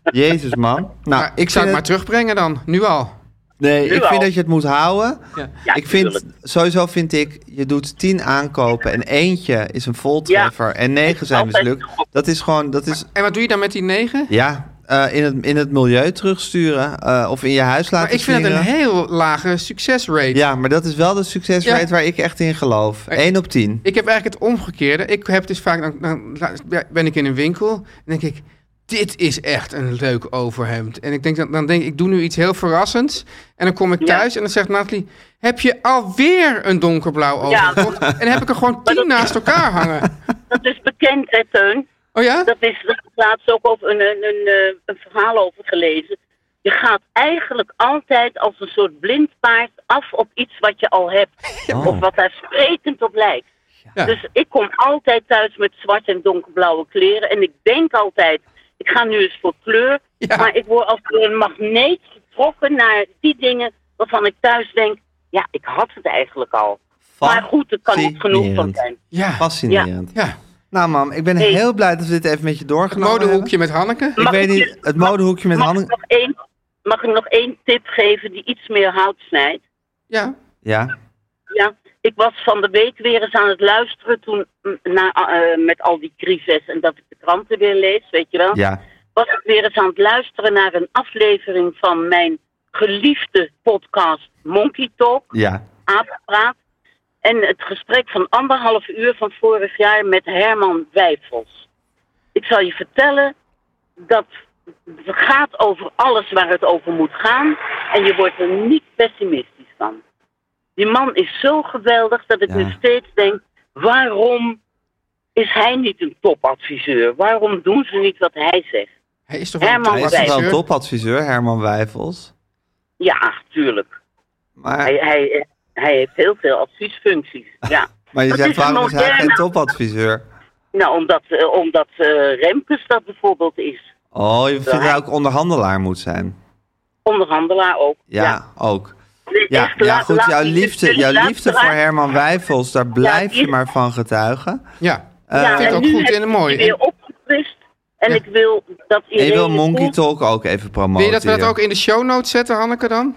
B: Jezus man. Nou,
C: Maar ik zou het
B: vind
C: maar terugbrengen dan, nu al.
B: Nee, ik
F: al.
B: vind dat je het moet houden.
C: Ja.
F: Ja,
B: ik vind,
F: tuurlijk.
B: sowieso vind ik, je doet tien aankopen en eentje is een voltreffer en negen zijn
F: Altijd
B: mislukt.
F: goed.
B: Dat is gewoon, dat is
C: En wat doe je dan met die negen?
B: Ja, eh, in, het, in het milieu terugsturen eh, of in je huis laten
C: Maar ik vind het een
F: eh,
B: slingeren.
C: heel lage succesrate.
B: Ja, maar dat is wel de succesrate
C: Ja.
B: waar ik echt in geloof.
C: Maar-
B: 1 op 10.
C: Ik heb eigenlijk het omgekeerde. Ik heb dus vaak, dan, dan ben ik in een winkel en denk ik, dit is echt een leuk overhemd. En ik denk, dan, dan denk ik, ik doe nu iets heel verrassends. En dan kom ik
F: Ja.
C: thuis en dan zegt Nathalie, heb je alweer een donkerblauw
F: Ja.
C: overhemd? En dan heb ik er gewoon tien naast elkaar hangen.
F: Dat is bekend, hè, Teun?
C: Oh ja?
F: Dat is dat is laatst ook over een, een, een, eh, een verhaal over gelezen. Je gaat eigenlijk altijd als een soort blind paard af op iets wat je al hebt. Of wat daar sprekend op lijkt.
C: Oh. Ja.
F: Dus ik kom altijd thuis met zwart en donkerblauwe kleren. En ik denk altijd, ik ga nu eens voor kleur.
C: Ja.
F: Maar ik word als door een magneet getrokken naar die dingen waarvan ik thuis denk... Ja, ik had het eigenlijk al. Maar goed, er kan niet genoeg van
B: Fascinerend.
F: zijn.
C: Ja.
B: Fascinerend.
C: ja.
B: Nou mam, ik ben
F: Hey.
B: heel blij dat we dit even met je
C: Het
B: doorgenomen
C: modehoekje met Hanneke.
B: hebben.
F: Mag
B: Ik
F: ik
B: weet
F: je-
B: niet, het modehoekje met
F: Mag ik,
B: handen...
F: nog één, mag ik nog één tip geven die iets meer hout snijdt?
C: Ja.
B: Ja,
F: Ja, ik was van de week weer eens aan het eh, luisteren toen, mm, na, eh, met al die crisis en dat ik de kranten weer lees, weet je wel.
B: ja.
F: was ik weer eens aan het luisteren naar een aflevering van mijn geliefde podcast Monkey Talk,
B: Ja.
F: Apenpraat. En het gesprek van anderhalf uur van vorig jaar met Herman Wijfels. Ik zal je vertellen, dat het gaat over alles waar het over moet gaan. En je wordt er niet pessimistisch van. Die man is zo geweldig dat ik
B: Ja.
F: nu steeds denk: waarom is hij niet een topadviseur? Waarom doen ze niet wat hij zegt?
C: Hij is toch wel een
F: Herman
B: Hij is toch wel een
C: topadviseur?
B: topadviseur, Herman Wijfels.
F: Ja, tuurlijk.
B: Maar,
F: Hij, hij, hij heeft heel veel adviesfuncties. Ja.
B: maar je
F: Dat
B: zegt,
F: is een
B: waarom is hij geen
F: moderne-
B: topadviseur?
F: Nou, omdat, eh, omdat eh, Remkes dat bijvoorbeeld is.
B: Oh, je vindt
F: hij-
B: hij ook onderhandelaar moet zijn.
F: Onderhandelaar ook.
B: Ja, ook.
F: Nee,
B: Ja,
F: echt,
B: ja
F: laat-
B: goed,
F: laat
B: jouw
F: die-
B: liefde,
F: die
B: jouw liefde
F: luisteraar-
B: voor Herman Wijfels, daar blijf je
F: die-
B: maar van getuigen.
C: Ja.
F: Ja,
C: ik vind
F: Eh, en
C: het ook
F: nu
C: goed
F: heb
C: en
F: ik
C: mooi.
F: die weer opgefrist. En ik wil dat
B: En
F: iedereen...
B: je wil Monkey Talk ook even
C: Wil
B: promoten.
C: je dat we dat
B: hier.
C: ook in de show notes zetten, Hanneke, dan?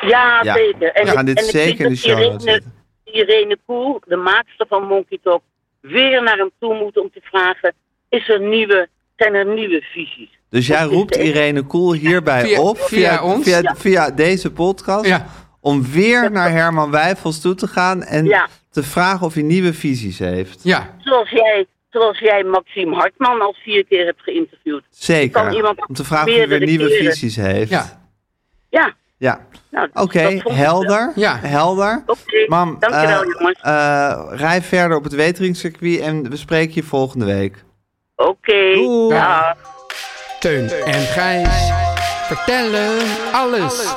F: Ja,
B: Ja,
F: zeker. En
B: we
F: ik-
B: gaan dit
F: en ik
B: zeker
F: weet
B: in de
F: dat
B: show
F: Irene-
B: notes zetten.
F: Irene Koel, de maakster van Monkey Talk, weer naar hem toe moet om te vragen... Is er nieuwe, zijn er nieuwe visies?
B: Dus jij roept Irene Koel hierbij
C: Via-
B: op,
C: via ons?
B: via, via deze podcast,
C: Ja.
B: om weer naar Herman Wijfels toe te gaan en
F: Ja.
B: te vragen of hij nieuwe visies heeft.
C: Ja.
F: Zoals jij, zoals jij Maxime Hartman al vier keer hebt geïnterviewd. Kan
B: Zeker,
F: iemand
B: om te vragen of hij weer
F: meerdere
B: nieuwe
F: keren?
B: visies heeft.
C: Ja.
F: Ja,
B: Ja.
F: nou,
B: Oké,
F: dat vond ik wel.
B: helder.
C: Ja.
B: helder.
F: Oké,
B: Mam,
F: dankjewel,
B: eh,
F: jongens.
B: eh, rij verder op het weteringscircuit en we spreken je volgende week.
F: Oké.
B: Doei.
F: dag.
C: Teun en Gijs vertellen alles.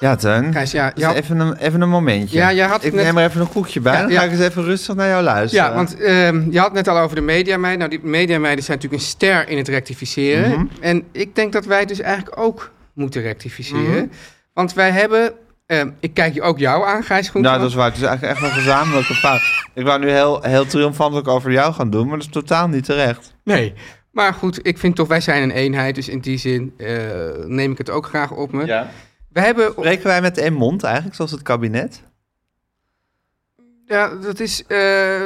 B: Ja, Teun.
C: Gijs, ja,
B: Dus
C: ja.
B: even, een, even een momentje.
C: Ja, jij had
B: ik
C: net-
B: neem er even een koekje bij.
C: Ja,
B: dan
C: ja.
B: ga ik eens even rustig naar jou luisteren.
C: Ja, want ehm, je had net al over de mediameiden. Nou, die mediameiden zijn natuurlijk een ster in het rectificeren.
B: Mhm.
C: En ik denk dat wij dus eigenlijk ook moeten rectificeren.
B: Mhm.
C: Want wij hebben... ehm, ik kijk je ook jou aan, Gijs Groenteman.
B: Nou, dat is waar. Het is eigenlijk echt een gezamenlijke fout. Ik wou nu heel, heel triomfantelijk over jou gaan doen, maar dat is totaal niet terecht.
C: Nee. Maar goed, ik vind toch, wij zijn een eenheid. Dus in die zin eh, neem ik het ook graag op me. We hebben...
B: Spreken wij met één mond eigenlijk, zoals het kabinet?
C: Ja, dat is. eh,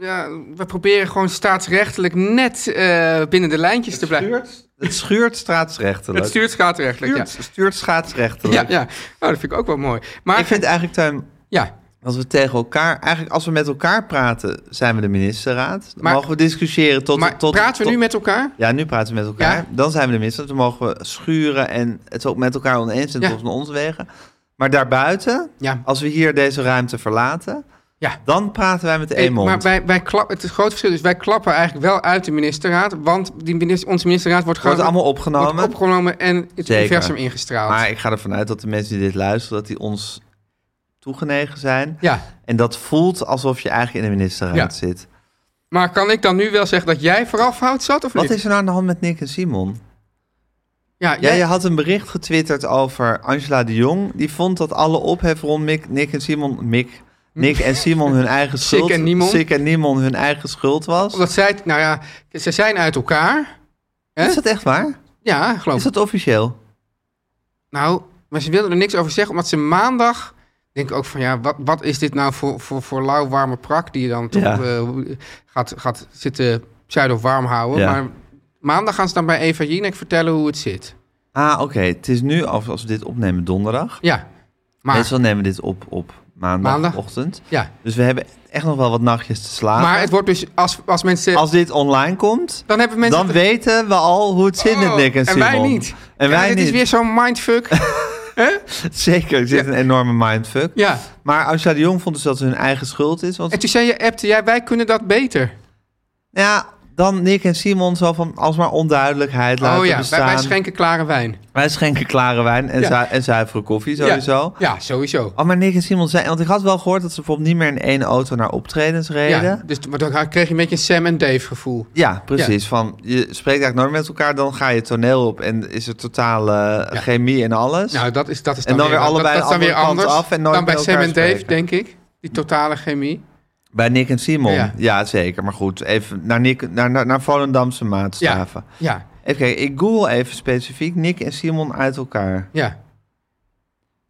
C: ja, we proberen gewoon staatsrechtelijk net eh, binnen de lijntjes te blijven.
B: Het schuurt staatsrechtelijk.
C: Het stuurt staatsrechtelijk. Ja.
B: Stuurt- stuurt staatsrechtelijk.
C: Ja, ja. Oh, dat vind ik ook wel mooi. Maar
B: Ik vind eigenlijk, Tuin,
C: ja,
B: als we tegen elkaar... Eigenlijk als we met elkaar praten, zijn we de ministerraad. Dan
C: Maar-
B: mogen we discussiëren tot...
C: maar
B: tot,
C: praten we
B: tot-
C: nu met elkaar?
B: Ja, nu praten we met elkaar.
C: Ja.
B: Dan zijn we de minister. Dan mogen we schuren en het ook met elkaar oneens zijn
C: Ja.
B: tot van ons wegen. Maar daarbuiten,
C: Ja.
B: als we hier deze ruimte verlaten,
C: Ja.
B: dan praten wij met één
C: Eh,
B: mond.
C: maar wij, wij klap, het is een groot verschil. Dus wij klappen eigenlijk wel uit de ministerraad. Want die minister, onze ministerraad wordt gewoon
B: Wordt allemaal opgenomen.
C: wordt opgenomen en het
B: Zeker.
C: universum ingestraald.
B: Maar ik ga ervan uit dat de mensen die dit luisteren, dat die ons toegenegen zijn.
C: Ja,
B: En dat voelt alsof je eigenlijk in de ministerraad
C: Ja.
B: zit.
C: maar kan ik dan nu wel zeggen dat jij vooral fout zat of niet?
B: Wat is er nou aan de hand met Nick en Simon?
C: ja,
B: Ja,
C: jij-
B: je had een bericht getwitterd over Angela de Jong. Die vond dat alle ophef rond Mick, Nick en Simon... Mick, Nick en Simon hun eigen
C: Sick
B: schuld...
C: en Niemon.
B: Sick en Niemon hun eigen schuld was.
C: omdat zij, het- nou ja, ze zijn uit elkaar. Hè? Oh.
B: Is dat echt waar?
C: Ja, geloof ik.
B: Is dat officieel?
C: Nou, maar ze wilden er niks over zeggen, omdat ze maandag... denk ik ook van, ja, wat, wat is dit nou voor, voor, voor lauw warme prak... die je dan toch
B: Ja.
C: eh, gaat, gaat zitten pseudo warm houden.
B: Ja.
C: Maar maandag gaan ze dan bij Eva Jinek vertellen hoe het zit.
B: Ah, oké. Het is nu, als als we dit opnemen, donderdag.
C: Ja, maar,
B: Meestal nemen we dit op op maandagochtend.
C: ja.
B: Dus we hebben echt nog wel wat nachtjes te slapen.
C: maar het wordt dus, als, als mensen...
B: Als dit online komt,
C: dan hebben mensen...
B: dan weten we al hoe het zit met
C: Oh,
B: Nick en
C: en
B: Simon.
C: wij niet.
B: En
C: Ja,
B: wij
C: dit
B: niet.
C: is weer zo'n mindfuck.
B: Zeker, er zit een enorme mindfuck.
C: ja.
B: Maar Angela de Jong vond dus dat het hun eigen schuld is. Want
C: En toen zei je, appte jij, wij kunnen dat beter.
B: nou ja, dan Nick en Simon zo van alsmaar onduidelijkheid laten
C: oh ja, wij,
B: bestaan.
C: wij schenken klare wijn.
B: Wij schenken klare wijn en,
C: Ja.
B: zu- en zuivere koffie sowieso.
C: Ja, ja sowieso.
B: Oh, maar Nick en Simon zijn... Want ik had wel gehoord dat ze bijvoorbeeld niet meer in één auto naar optredens reden.
C: Ja,
B: Ja,
C: dus maar dan kreeg je een beetje een Sam en Dave gevoel.
B: precies. Van, je spreekt eigenlijk nooit met elkaar, dan ga je het toneel op... en is er totale eh,
C: Ja.
B: chemie en alles.
C: Nou, dat is, dat is
B: En dan weer
C: dat-
B: allebei
C: dat, dat is
B: de
C: dan weer
B: andere
C: anders
B: kant af en nooit
C: dan bij
B: met
C: Sam
B: elkaar
C: en Dave,
B: spreken.
C: denk ik. Die totale chemie.
B: Bij Nick en Simon, ja,
C: Ja.
B: zeker. Maar goed, even naar, Nick, naar, naar, naar Volendamse maatstaven.
C: Ja,
B: Even kijken, ik google even specifiek Nick en Simon uit elkaar.
C: ja.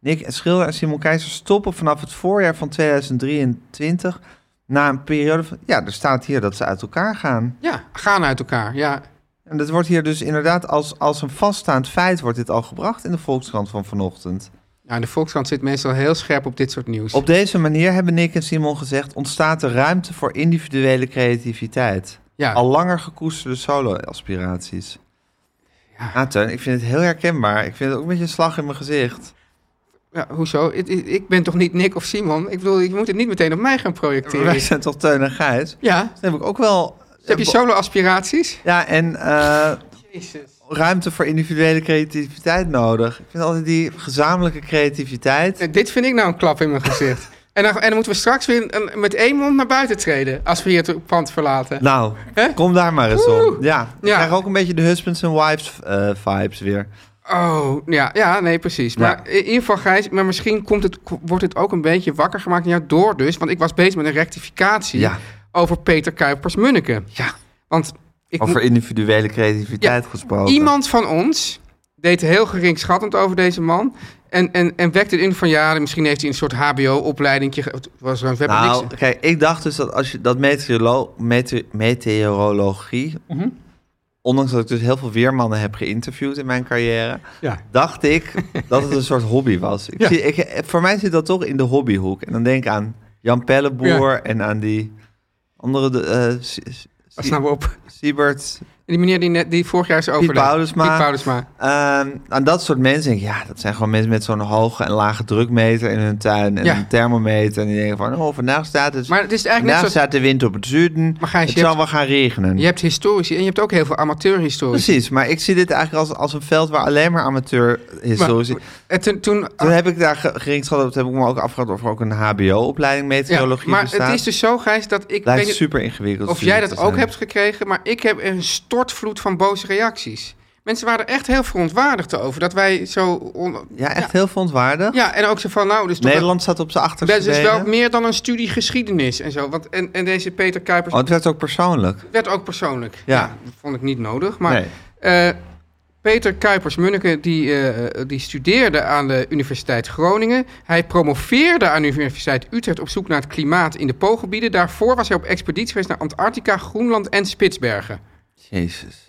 B: Nick Schilder en Simon Keizer stoppen vanaf het voorjaar van 2023... na een periode van... Ja, er staat hier dat ze uit elkaar gaan.
C: Ja, gaan uit elkaar. Ja,
B: En dat wordt hier dus inderdaad als, als een vaststaand feit wordt dit al gebracht in de Volkskrant van vanochtend.
C: Nou, de Volkskrant zit meestal heel scherp op dit soort nieuws.
B: Op deze manier hebben Nick en Simon gezegd ontstaat er ruimte voor individuele creativiteit.
C: ja,
B: Al langer gekoesterde solo-aspiraties.
C: Ja.
B: Ja. Teun, ik vind het heel herkenbaar. Ik vind het ook een beetje een slag in mijn gezicht.
C: ja, hoezo? Ik, ik- ik ben toch niet Nick of Simon? Ik bedoel, je moet het niet meteen op mij gaan projecteren.
B: Wij zijn toch Teun en Gijs?
C: Ja,
B: Dan heb ik ook wel...
C: heb je solo-aspiraties?
B: Ja, en eh,
C: Jezus.
B: ruimte voor individuele creativiteit nodig. Ik vind altijd die gezamenlijke creativiteit.
C: Nou, Dit vind ik nou een klap in mijn gezicht. En dan, en dan moeten we straks weer een- met één mond naar buiten treden. Als we hier het pand verlaten.
B: Nou,
C: Hè?
B: kom daar maar eens op. Ja, ik
C: Ja.
B: krijg ook een beetje de husbands en wives eh, vibes weer.
C: Oh, ja, ja nee, precies. Maar
B: Ja.
C: in ieder geval, Gijs, maar misschien komt het, wordt het ook een beetje wakker gemaakt in jou door dus. Want ik was bezig met een rectificatie
B: Ja.
C: over Peter Kuipers-Munneke. Ja. Want ik
B: Over
C: moet-
B: individuele creativiteit gesproken.
C: iemand van ons deed heel geringschattend over deze man. En, en, en wekte het in van, ja, misschien heeft hij een soort hbo-opleiding. Het was er een
B: Nou, kijk, ik dacht dus dat als je dat meteorolo mete- meteorologie, ondanks dat ik dus heel veel weermannen heb geïnterviewd in mijn carrière,
C: Ja.
B: dacht ik dat het een soort hobby was. Ik
C: Ja.
B: zie, ik, voor mij zit dat toch in de hobbyhoek. En dan denk ik aan Jan Pelleboer en aan die andere de, eh, Sie- Sie-
C: Pas nou op.
B: Siebert,
C: En die meneer die, net, die vorig jaar is overleden.
B: Paulusma.
C: Piet Paulusma.
B: Ehm, aan dat soort mensen denk ik, ja, dat zijn gewoon mensen met zo'n hoge en lage drukmeter in hun tuin en
C: Ja.
B: een thermometer. En die denken van, oh, vandaag staat het,
C: Maar het is eigenlijk net
B: vandaag
C: zoals-
B: staat de wind op het zuiden,
C: Maar Gijs,
B: het
C: je
B: zal
C: hebt-
B: wel gaan regenen.
C: Je hebt historici en je hebt ook heel veel amateurhistorici.
B: Precies, maar ik zie dit eigenlijk als, als een veld waar alleen maar amateurhistorici...
C: En toen, toen,
B: Toen heb ik daar ge- geringschatteld, toen heb ik me ook afgevraagd of er ook een hbo-opleiding
C: ja,
B: meteorologie
C: maar
B: bestaat.
C: het is dus zo, Gijs, dat ik
B: Lijkt
C: weet niet
B: super ingewikkeld.
C: of jij
B: te
C: dat
B: zijn.
C: ook hebt gekregen, maar ik heb een stortvloed van boze reacties. Mensen waren er echt heel verontwaardigd over dat wij zo. on-
B: Ja, echt heel verontwaardigd.
C: Ja, en ook zo van, nou, dus toch
B: Nederland staat op zijn
C: wel-
B: achterste
C: dat is dus wel
B: benen.
C: meer dan een studie geschiedenis en zo. Want, en, en deze Peter Kuipers
B: Oh, het werd ook persoonlijk.
C: werd ook persoonlijk.
B: Oh. Ja.
C: dat vond ik niet nodig. Maar
B: nee.
C: Eh, Peter Kuipers-Munneke die, eh, die studeerde aan de Universiteit Groningen. Hij promoveerde aan de Universiteit Utrecht op zoek naar het klimaat in de Poolgebieden. Daarvoor was hij op expeditie geweest naar Antarctica, Groenland en Spitsbergen.
B: Jezus.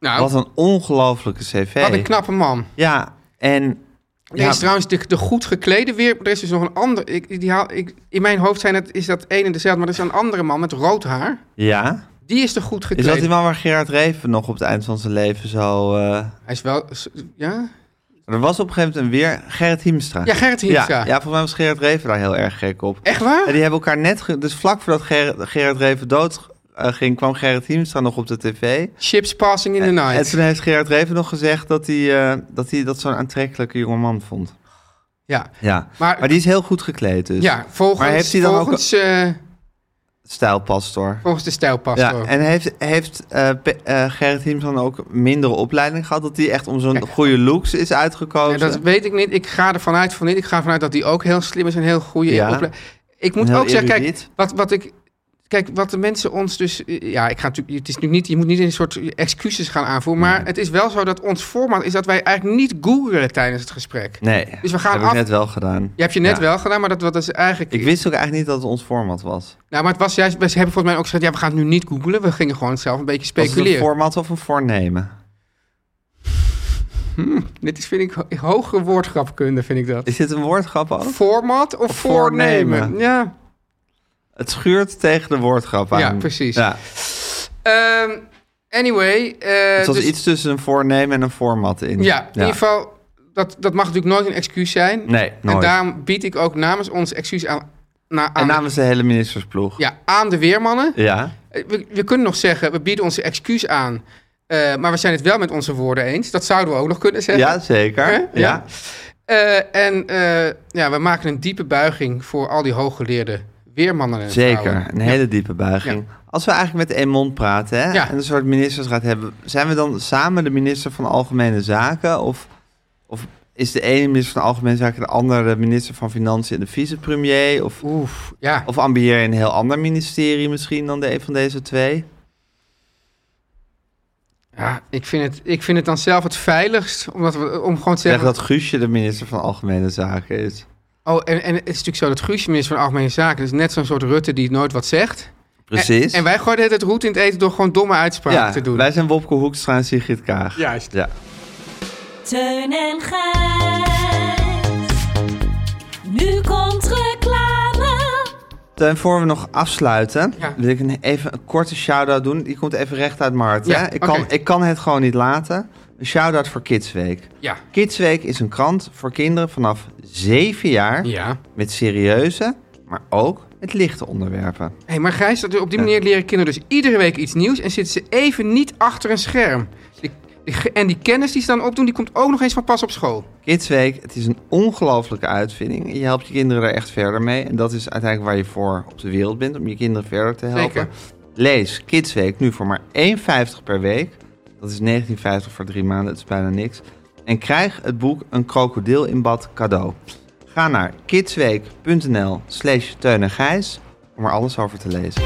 C: Nou,
B: Wat een ongelofelijke cv.
C: wat een knappe man.
B: Ja, en...
C: Er is trouwens de, de goed geklede weer. Er is dus nog een ander. Ik, die haal, ik, in mijn hoofd zijn het, is dat één en dezelfde, maar er is een andere man met rood haar.
B: ja?
C: Die is de goed
B: Is
C: gekleed.
B: dat die man waar Gerard Reven nog op het eind van zijn leven zo... eh,
C: Hij is wel. Ja?
B: Er was op een gegeven moment een weer Gerrit Hiemstra.
C: Ja, Gerrit Hiemstra.
B: Ja, ja, volgens mij was Gerrit Reven daar heel erg gek op.
C: Echt waar?
B: En die hebben elkaar net... ge- Dus vlak voordat Gerrit, Gerrit Reven dood eh, ging, kwam Gerrit Hiemstra nog op de tv.
C: Ships passing in the night.
B: En toen heeft Gerrit Reven nog gezegd dat hij eh, dat, hij dat zo'n aantrekkelijke jongeman vond.
C: ja.
B: Ja.
C: Maar-
B: Maar, die is heel goed gekleed dus.
C: ja, volgens,
B: Maar heeft hij dan ook-
C: volgens, eh,
B: Stijlpastoor.
C: Volgens de stijlpastor.
B: Ja, en heeft, heeft eh, Pe- eh, Gerrit Hiemstra dan ook een mindere opleiding gehad? Dat hij echt om zo'n goede looks is uitgekozen?
C: Ja, dat weet ik niet. Ik ga ervan uit van niet. Ik ga ervan uit dat die ook heel slim is en heel goede
B: Ja.
C: ople- Ik moet
B: En heel
C: ook zeggen, kijk,
B: erudiet.
C: wat, wat ik. Kijk, wat de mensen ons dus. eh, Ja, ik ga natuurlijk. Het is nu niet. Je moet niet in een soort excuses gaan aanvoeren. Maar het is wel zo dat ons format is dat wij eigenlijk niet googelen tijdens het gesprek.
B: Nee,
C: Dus we gaan
B: dat heb
C: af-
B: ik net wel gedaan.
C: Je hebt je net
B: Ja.
C: wel gedaan, maar dat, dat is eigenlijk.
B: Ik wist ook eigenlijk niet dat het ons format was.
C: Nou, maar het was juist. We hebben volgens mij ook gezegd. Ja, we gaan het nu niet googelen. We gingen gewoon zelf een beetje
B: Was het een
C: speculeren.
B: format of een voornemen?
C: Dit is, vind ik, ho- hogere woordgrapkunde, vind ik dat.
B: Is dit een woordgrap ook?
C: Format of,
B: voornemen.
C: voornemen? Ja.
B: Het schuurt tegen de woordgrap aan.
C: Ja, precies. Eh,
B: Ja.
C: Ehm, anyway. eh,
B: Het was
C: dus-
B: iets tussen een voornemen en een format in.
C: Ja, in ieder geval, dat, dat mag natuurlijk nooit een excuus zijn.
B: Nee, nooit.
C: En daarom bied ik ook namens ons excuus aan, na- aan,
B: En namens de hele ministersploeg.
C: ja, aan de weermannen.
B: Ja.
C: Eh, We, we kunnen nog zeggen, we bieden onze excuus aan. eh, maar we zijn het wel met onze woorden eens. Dat zouden we ook nog kunnen zeggen.
B: Ja, zeker.
C: Hè?
B: Ja.
C: Eh, Ja. Eh, en eh, ja, we maken een diepe buiging voor al die hooggeleerde weermannen en vrouwen.
B: Zeker. Een hele diepe buiging. Als we eigenlijk met één mond praten hè,
C: Ja.
B: en een soort ministersraad hebben, zijn we dan samen de minister van Algemene Zaken? Of, of is de ene minister van Algemene Zaken de andere minister van Financiën en de vicepremier? Of,
C: Oef, ja.
B: of ambieer je een heel ander ministerie misschien dan de een van deze twee?
C: ja ik, vind het, ik vind het dan zelf het veiligst omdat we, om gewoon te
B: Zeg
C: zeggen...
B: dat Guusje de minister van Algemene Zaken is.
C: Oh, en, en het is natuurlijk zo dat Guusje minister van Algemene Zaken is net zo'n soort Rutte die nooit wat zegt.
B: Precies.
C: En, en wij gooiden het roet in het eten door gewoon domme uitspraken
B: ja,
C: te doen.
B: Wij zijn Wopke Hoekstra en Sigrid Kaag.
C: Juist.
B: Ja.
E: Teun en Gijs. Nu komt reclame.
B: Ten, Eh, voor we nog afsluiten,
C: Ja.
B: wil ik een, even een korte shout-out doen. Die komt even recht uit Mart.
C: Ja,
B: hè? Ik, kan,
C: oké.
B: ik kan het gewoon niet laten. Een shout-out voor Kidsweek.
C: Ja.
B: Kidsweek is een krant voor kinderen vanaf 7 jaar.
C: Ja.
B: Met serieuze, maar ook met lichte onderwerpen.
C: Hé, maar Gijs, dat- op die manier leren kinderen dus iedere week iets nieuws en zitten ze even niet achter een scherm. Die- die ge- en die kennis die ze dan opdoen, die komt ook nog eens van pas op
B: Oh,
C: school.
B: Kidsweek, het is een ongelofelijke uitvinding. Je helpt je kinderen er echt verder mee. En dat is uiteindelijk waar je voor op de wereld bent, om je kinderen verder te helpen.
C: Zeker.
B: Lees Kidsweek nu voor maar 1,50 per week. Dat is 19,50 voor drie maanden, dat is bijna niks. En krijg het boek Een krokodil in bad cadeau. Ga naar kidsweek.nl slash Teun en Gijs om er alles over te lezen.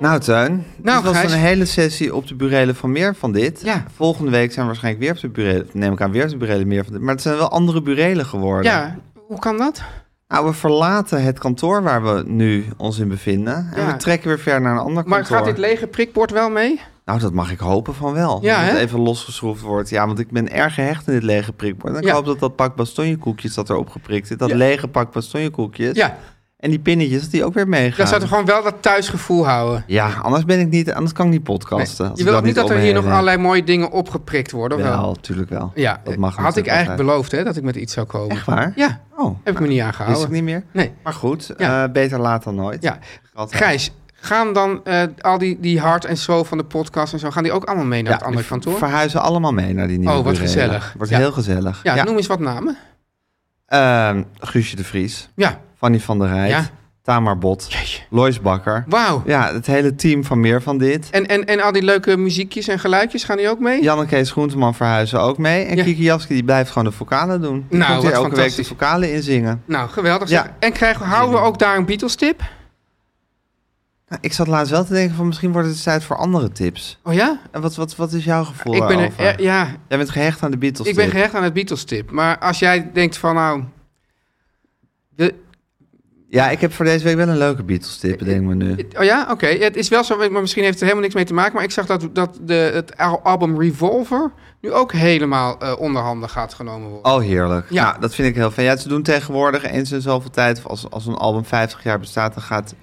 B: Nou Teun,
C: Nou,
B: dit was
C: Gijs.
B: een hele sessie op de burelen van meer van dit.
C: Ja.
B: Volgende week zijn we waarschijnlijk weer op de burelen, neem ik aan, weer op de burelen meer van dit. Maar het zijn wel andere burelen geworden.
C: Ja, hoe kan dat?
B: Nou, we verlaten het kantoor waar we nu ons in bevinden. En
C: Ja.
B: we trekken weer verder naar een ander
C: Maar
B: kantoor.
C: gaat dit lege prikbord wel mee?
B: Nou, dat mag ik hopen van wel.
C: Ja,
B: dat
C: hè?
B: het even losgeschroefd wordt. Ja, want ik ben erg gehecht in dit lege prikbord. En ik
C: Ja.
B: hoop dat dat pak bastonjekoekjes dat erop geprikt zit. Dat
C: Ja.
B: lege pak bastonjekoekjes.
C: Ja,
B: En die pinnetjes, dat die ook weer meegaan.
C: dan zouden we gewoon wel dat thuisgevoel houden.
B: Ja, anders ben ik niet, anders kan ik niet podcasten.
C: Nee,
B: als
C: Je
B: ik
C: wil
B: dat
C: ook niet dat
B: om
C: er
B: me
C: hier
B: heen
C: nog
B: heb.
C: allerlei mooie dingen opgeprikt worden, of wel?
B: Wel, natuurlijk wel.
C: Ja,
B: dat mag
C: had ik
B: natuurlijk
C: eigenlijk
B: altijd.
C: beloofd hè, dat ik met iets zou komen.
B: Echt waar?
C: Ja,
B: Oh,
C: heb ik me niet
B: wist ik
C: aangehouden.
B: niet meer.
C: Nee.
B: Maar goed,
C: Ja.
B: eh, beter laat dan nooit.
C: Ja.
B: Altijd.
C: Gijs, gaan dan eh, al die, die hart en zo van de podcast en zo, gaan die ook allemaal mee naar
B: Ja,
C: het andere
B: we
C: kantoor?
B: Verhuizen allemaal mee naar die nieuwe
C: Oh, wat
B: burelen.
C: gezellig.
B: Wordt
C: Ja.
B: heel gezellig.
C: Ja,
B: Ja.
C: noem eens wat namen.
B: Ehm, Guusje de Vries.
C: Ja.
B: Fanny van der Rijt,
C: Ja.
B: Tamar Bot,
C: Jeetje.
B: Lois Bakker.
C: Wauw.
B: Ja, het hele team van meer van dit.
C: En, en, en al die leuke muziekjes en geluidjes, gaan die ook mee?
B: Janneke Kees Groenteman verhuizen ook mee. En
C: Ja.
B: Kiki Jaski die blijft gewoon de vocalen doen. Die
C: Nou,
B: komt hier
C: wat
B: elke week de
C: fantastisch.
B: vocalen inzingen.
C: Nou, geweldig.
B: Ja.
C: zeg. En krijgen, houden we ook daar een Beatles-tip?
B: Nou, ik zat laatst wel te denken van misschien wordt het tijd voor andere tips.
C: Oh ja?
B: En wat, wat, wat is jouw gevoel
C: Ik ben, er-
B: daarover?
C: eh, ja,
B: Jij bent gehecht aan de Beatles.
C: ik ben
B: tip.
C: gehecht aan het Beatles-tip. Maar als jij denkt van, nou... de-
B: Ja, ik heb voor deze week wel een leuke Beatles tip, bedenk me nu.
C: oh ja? Oké. Het is wel zo, maar misschien heeft het er helemaal niks mee te maken. Maar ik zag dat, dat de, het al- album Revolver nu ook helemaal eh onderhanden gaat genomen worden.
B: Oh, heerlijk.
C: Ja.
B: Ja, dat vind ik heel fijn. Ja, ze doen tegenwoordig eens in zoveel tijd, of als, als een album 50 jaar bestaat, dan gaat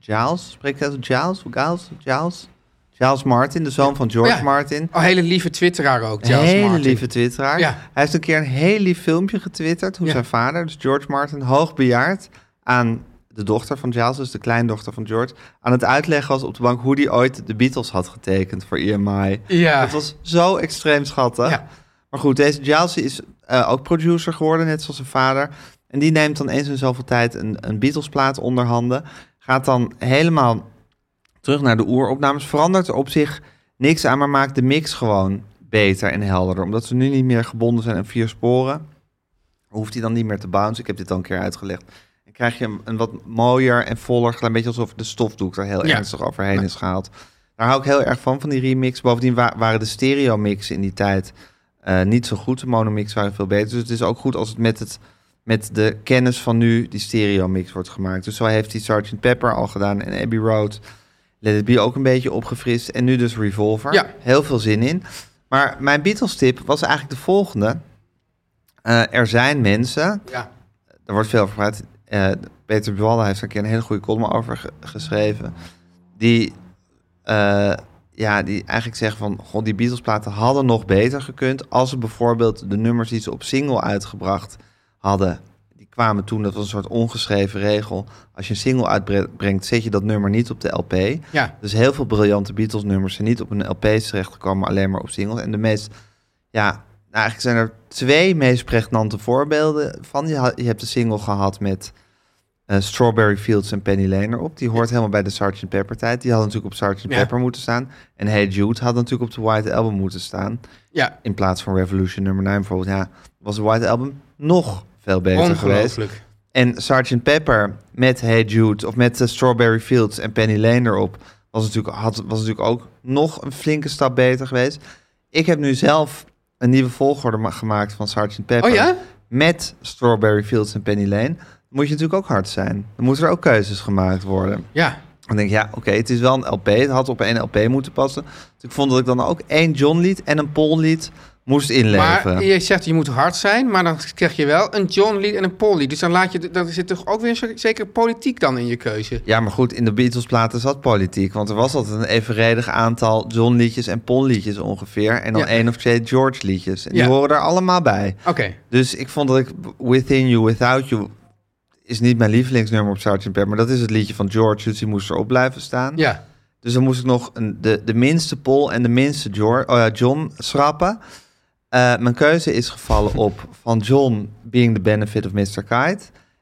B: Giles, spreekt hij zo Giles? Giles? Giles? Giles Martin, de zoon van George
C: Ja.
B: Martin.
C: Oh, hele lieve twitteraar ook,
B: Een
C: Giles
B: hele
C: Martin.
B: lieve twitteraar.
C: Ja.
B: Hij heeft een keer een heel lief filmpje getwitterd hoe
C: Ja.
B: zijn vader, dus George Martin, hoogbejaard aan de dochter van Giles, dus de kleindochter van George, aan het uitleggen was op de bank hoe die ooit de Beatles had getekend voor E EMI.
C: Ja.
B: Dat was zo extreem schattig.
C: Ja.
B: Maar goed, deze Giles is eh, ook producer geworden, net zoals zijn vader. En die neemt dan eens in zoveel tijd een, een Beatles-plaat onder handen. Gaat dan helemaal terug naar de oeropnames. Verandert er op zich niks aan, maar maakt de mix gewoon beter en helderder. Omdat ze nu niet meer gebonden zijn aan vier sporen, hoeft hij dan niet meer te bounce. Ik heb dit al een keer uitgelegd. Dan krijg je een, een wat mooier en voller geluid. Een beetje alsof de stofdoek er heel
C: Ja.
B: ernstig overheen is gehaald. Daar hou ik heel erg van, van die remix. Bovendien wa- waren de stereo-mixen in die tijd eh, niet zo goed. De monomix waren veel beter. Dus het is ook goed als het met, het, met de kennis van nu die stereo-mix wordt gemaakt. Dus zo heeft hij Sgt. Pepper al gedaan en Abbey Road. Let It Be ook een beetje opgefrist. En nu dus Revolver.
C: Ja.
B: Heel veel zin in. Maar mijn Beatles-tip was eigenlijk de volgende. Eh, er zijn mensen,
C: Ja.
B: er wordt veel over gepraat. eh, Peter Buwalda heeft er een keer een hele goede column over ge- geschreven. Die, eh, ja, die eigenlijk zeggen van... God, die Beatles-platen hadden nog beter gekund... als ze bijvoorbeeld de nummers die ze op single uitgebracht hadden... die kwamen toen, dat was een soort ongeschreven regel. Als je een single uitbrengt, zet je dat nummer niet op de LP.
C: Ja.
B: Dus heel veel briljante Beatles-nummers zijn niet op een LP terechtgekomen, maar alleen maar op singles. En de meest, ja, nou, eigenlijk zijn er twee meest pregnante voorbeelden van. Je, ha- je hebt de single gehad met eh, Strawberry Fields en Penny Lane erop. Die hoort helemaal bij de Sgt. Pepper-tijd. Die had natuurlijk op Sgt.
C: Ja.
B: Pepper moeten staan. En Hey Jude had natuurlijk op de White Album moeten staan.
C: Ja,
B: In plaats van Revolution nummer 9 bijvoorbeeld. Ja, was de White Album nog veel beter geweest.
C: ongelooflijk.
B: En Sgt. Pepper met Hey Jude of met eh, Strawberry Fields en Penny Lane erop was natuurlijk, had, was natuurlijk ook nog een flinke stap beter geweest. Ik heb nu zelf een nieuwe volgorde ma- gemaakt van Sgt. Pepper
C: Oh ja?
B: met Strawberry Fields en Penny Lane. Moet je natuurlijk ook hard zijn. Dan moeten er ook keuzes gemaakt worden.
C: Ja.
B: Dan denk ik, ja, oké, het is wel een LP. Het had op één LP moeten passen. Dus ik vond dat ik dan ook één John-lied en een Paul-lied moest inleveren.
C: Maar je zegt je moet hard zijn, maar dan krijg je wel een John-lied en een Paul-lied. Dus dan, laat je, dan zit toch ook weer een soort- zekere politiek dan in je keuze.
B: Ja, maar goed, in de Beatles-platen zat politiek. Want er was altijd een evenredig aantal John-liedjes en Paul-liedjes ongeveer. En dan
C: Ja.
B: één of twee George-liedjes. En
C: Ja.
B: die horen er allemaal bij.
C: Oké,
B: Dus ik vond dat ik Within You, Without You... is niet mijn lievelingsnummer op Sgt. Pepper. Maar dat is het liedje van George, dus die moest erop blijven staan.
C: ja.
B: Dus dan moest ik nog een, de, de minste Paul en de minste George, oh ja, John schrappen. Eh, mijn keuze is gevallen op van John Being the Benefit of Mr. Kite...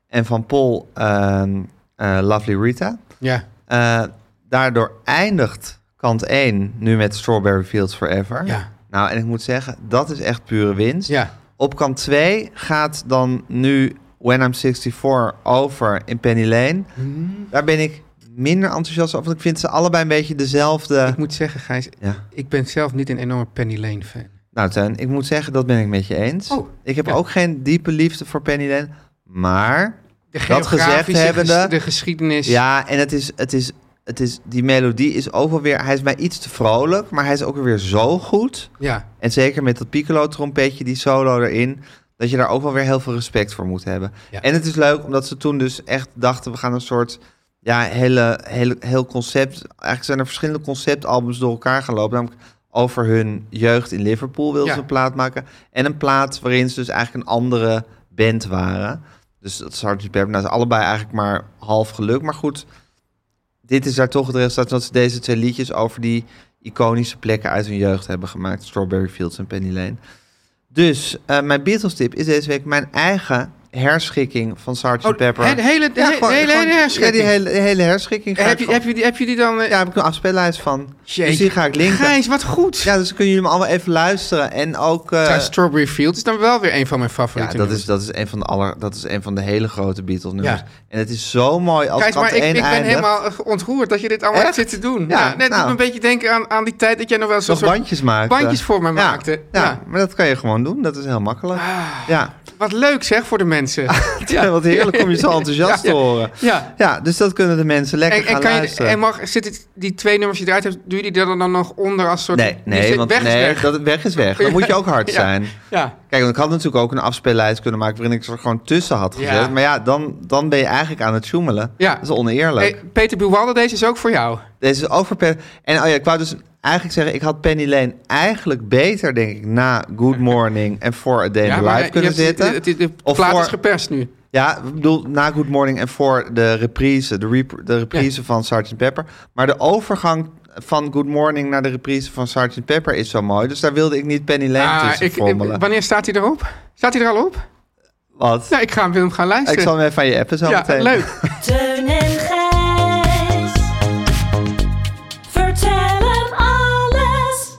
B: en van Paul ehm, eh, Lovely Rita...
C: ja.
B: Eh, daardoor eindigt kant 1 nu met Strawberry Fields Forever.
C: Ja.
B: Nou, en ik moet zeggen, dat is echt pure winst.
C: Ja.
B: Op kant 2 gaat dan nu When I'm 64 over in Penny Lane.
C: Mhm.
B: Daar ben ik minder enthousiast over, want ik vind ze allebei een beetje dezelfde...
C: Ik moet zeggen, Gijs,
B: Ja.
C: ik ben zelf niet een enorme Penny Lane fan.
B: Nou, Tuin, ik moet zeggen, dat ben ik met je eens.
C: Oh,
B: ik heb
C: ja.
B: ook geen diepe liefde voor Penny Lane, maar...
C: De
B: Dat gezegd
C: geografische ges-
B: hebbende-
C: De geschiedenis.
B: Ja, en het is, het is, het is, die melodie is ook wel weer... Hij is mij iets te vrolijk, maar hij is ook weer zo goed...
C: ja.
B: En zeker met dat piccolo-trompetje, die solo erin, dat je daar ook wel weer heel veel respect voor moet hebben.
C: Ja.
B: En het is leuk omdat ze toen dus echt dachten: we gaan een soort ja, hele, hele, heel concept. Eigenlijk zijn er verschillende conceptalbums door elkaar gelopen. Namelijk over hun jeugd in Liverpool wilden
C: Ja.
B: ze een plaat maken. En een plaat waarin ze dus eigenlijk een andere band waren. Dus dat is Sgt. Pepper. Nou, ze allebei eigenlijk maar half geluk. Maar goed, dit is daar toch het resultaat van dat ze deze twee liedjes over die iconische plekken uit hun jeugd hebben gemaakt. Strawberry Fields en Penny Lane. Dus eh, mijn Beatles tip is deze week mijn eigen herschikking van Sgt.
C: Oh,
B: Pepper.
C: he- de hele- de he- de hele- hele herschikking.
B: Ja, die hele, hele herschikking. ga
C: Heb
B: ik
C: je,
B: gewoon-
C: heb, je, die- heb je die dan... eh,
B: Ja, heb ik een afspeellijst van. Dus
C: Jeetje.
B: die ga ik linken.
C: Gijs, wat goed.
B: Ja, dus kunnen jullie hem allemaal even luisteren. En ook... eh,
C: Trouwens, Strawberry Fields is dan wel weer een van mijn
B: ja,
C: favorieten.
B: dat is, dat, is een van de aller, dat is een van de hele grote Beatles-nummers.
C: Ja.
B: En het is zo mooi als
C: Gijs,
B: kant
C: maar ik, ik
B: één
C: ben
B: eindigt.
C: helemaal eh, ontroerd dat je dit allemaal
B: Echt?
C: zit te doen. Ja,
B: Ja,
C: net doet
B: nou.
C: me een beetje denken aan, aan die tijd dat jij nog wel zo'n
B: Nog
C: soort
B: bandjes maken.
C: bandjes voor mij maakte.
B: Ja,
C: Ja. Ah.
B: maar dat kan je gewoon doen. Dat is heel makkelijk. Ja.
C: Wat leuk zeg voor de mensen.
B: ja, wat heerlijk om je zo enthousiast
C: Ja.
B: te horen.
C: Ja.
B: ja, dus dat kunnen de mensen lekker
C: En,
B: gaan
C: en, kan je,
B: luisteren.
C: en mag, zit het, die twee nummers die je eruit hebt, doe je die er dan nog onder als soort...
B: Nee,
C: die
B: nee,
C: zit-
B: want
C: weg is
B: nee,
C: weg.
B: Dat, weg is weg. Dan moet je ook hard
C: Ja.
B: zijn.
C: Ja.
B: Kijk, want ik had natuurlijk ook een afspeellijst kunnen maken waarin ik er gewoon tussen had gezet.
C: Ja.
B: Maar ja, dan, dan ben je eigenlijk aan het joemelen.
C: Ja.
B: Dat is oneerlijk.
C: Hey, Peter Buwalda, deze is ook voor jou.
B: Deze is over Pen- En oh ja, ik wou dus eigenlijk zeggen, ik had Penny Lane eigenlijk beter, denk ik, na Good Morning en For a Day in the
C: maar
B: Life
C: je
B: kunnen
C: hebt-
B: zitten.
C: De, de, de
B: Of
C: plaat
B: voor-
C: is geperst nu.
B: Ja, ik bedoel, na Good Morning en voor de reprise, de, rep- de reprise van Sgt. Pepper. Maar de overgang van Good Morning naar de reprise van Sgt. Pepper is zo mooi. Dus daar wilde ik niet Penny Lane
C: Ah,
B: tussen
C: ik, ik-
B: frommelen.
C: wanneer staat hij erop? Staat hij er al op?
B: Wat?
C: Nou, ik ga hem gaan
B: ik
C: luisteren.
B: zal hem even aan je appen zo
C: ja,
B: meteen.
C: leuk.
E: Teun en Gijs. Vertel hem alles.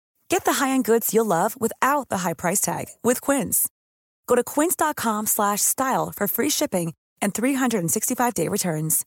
G: Get the high-end goods you'll love without the high price tag with Quince. Go to quince.com/style for free shipping and 365-day returns.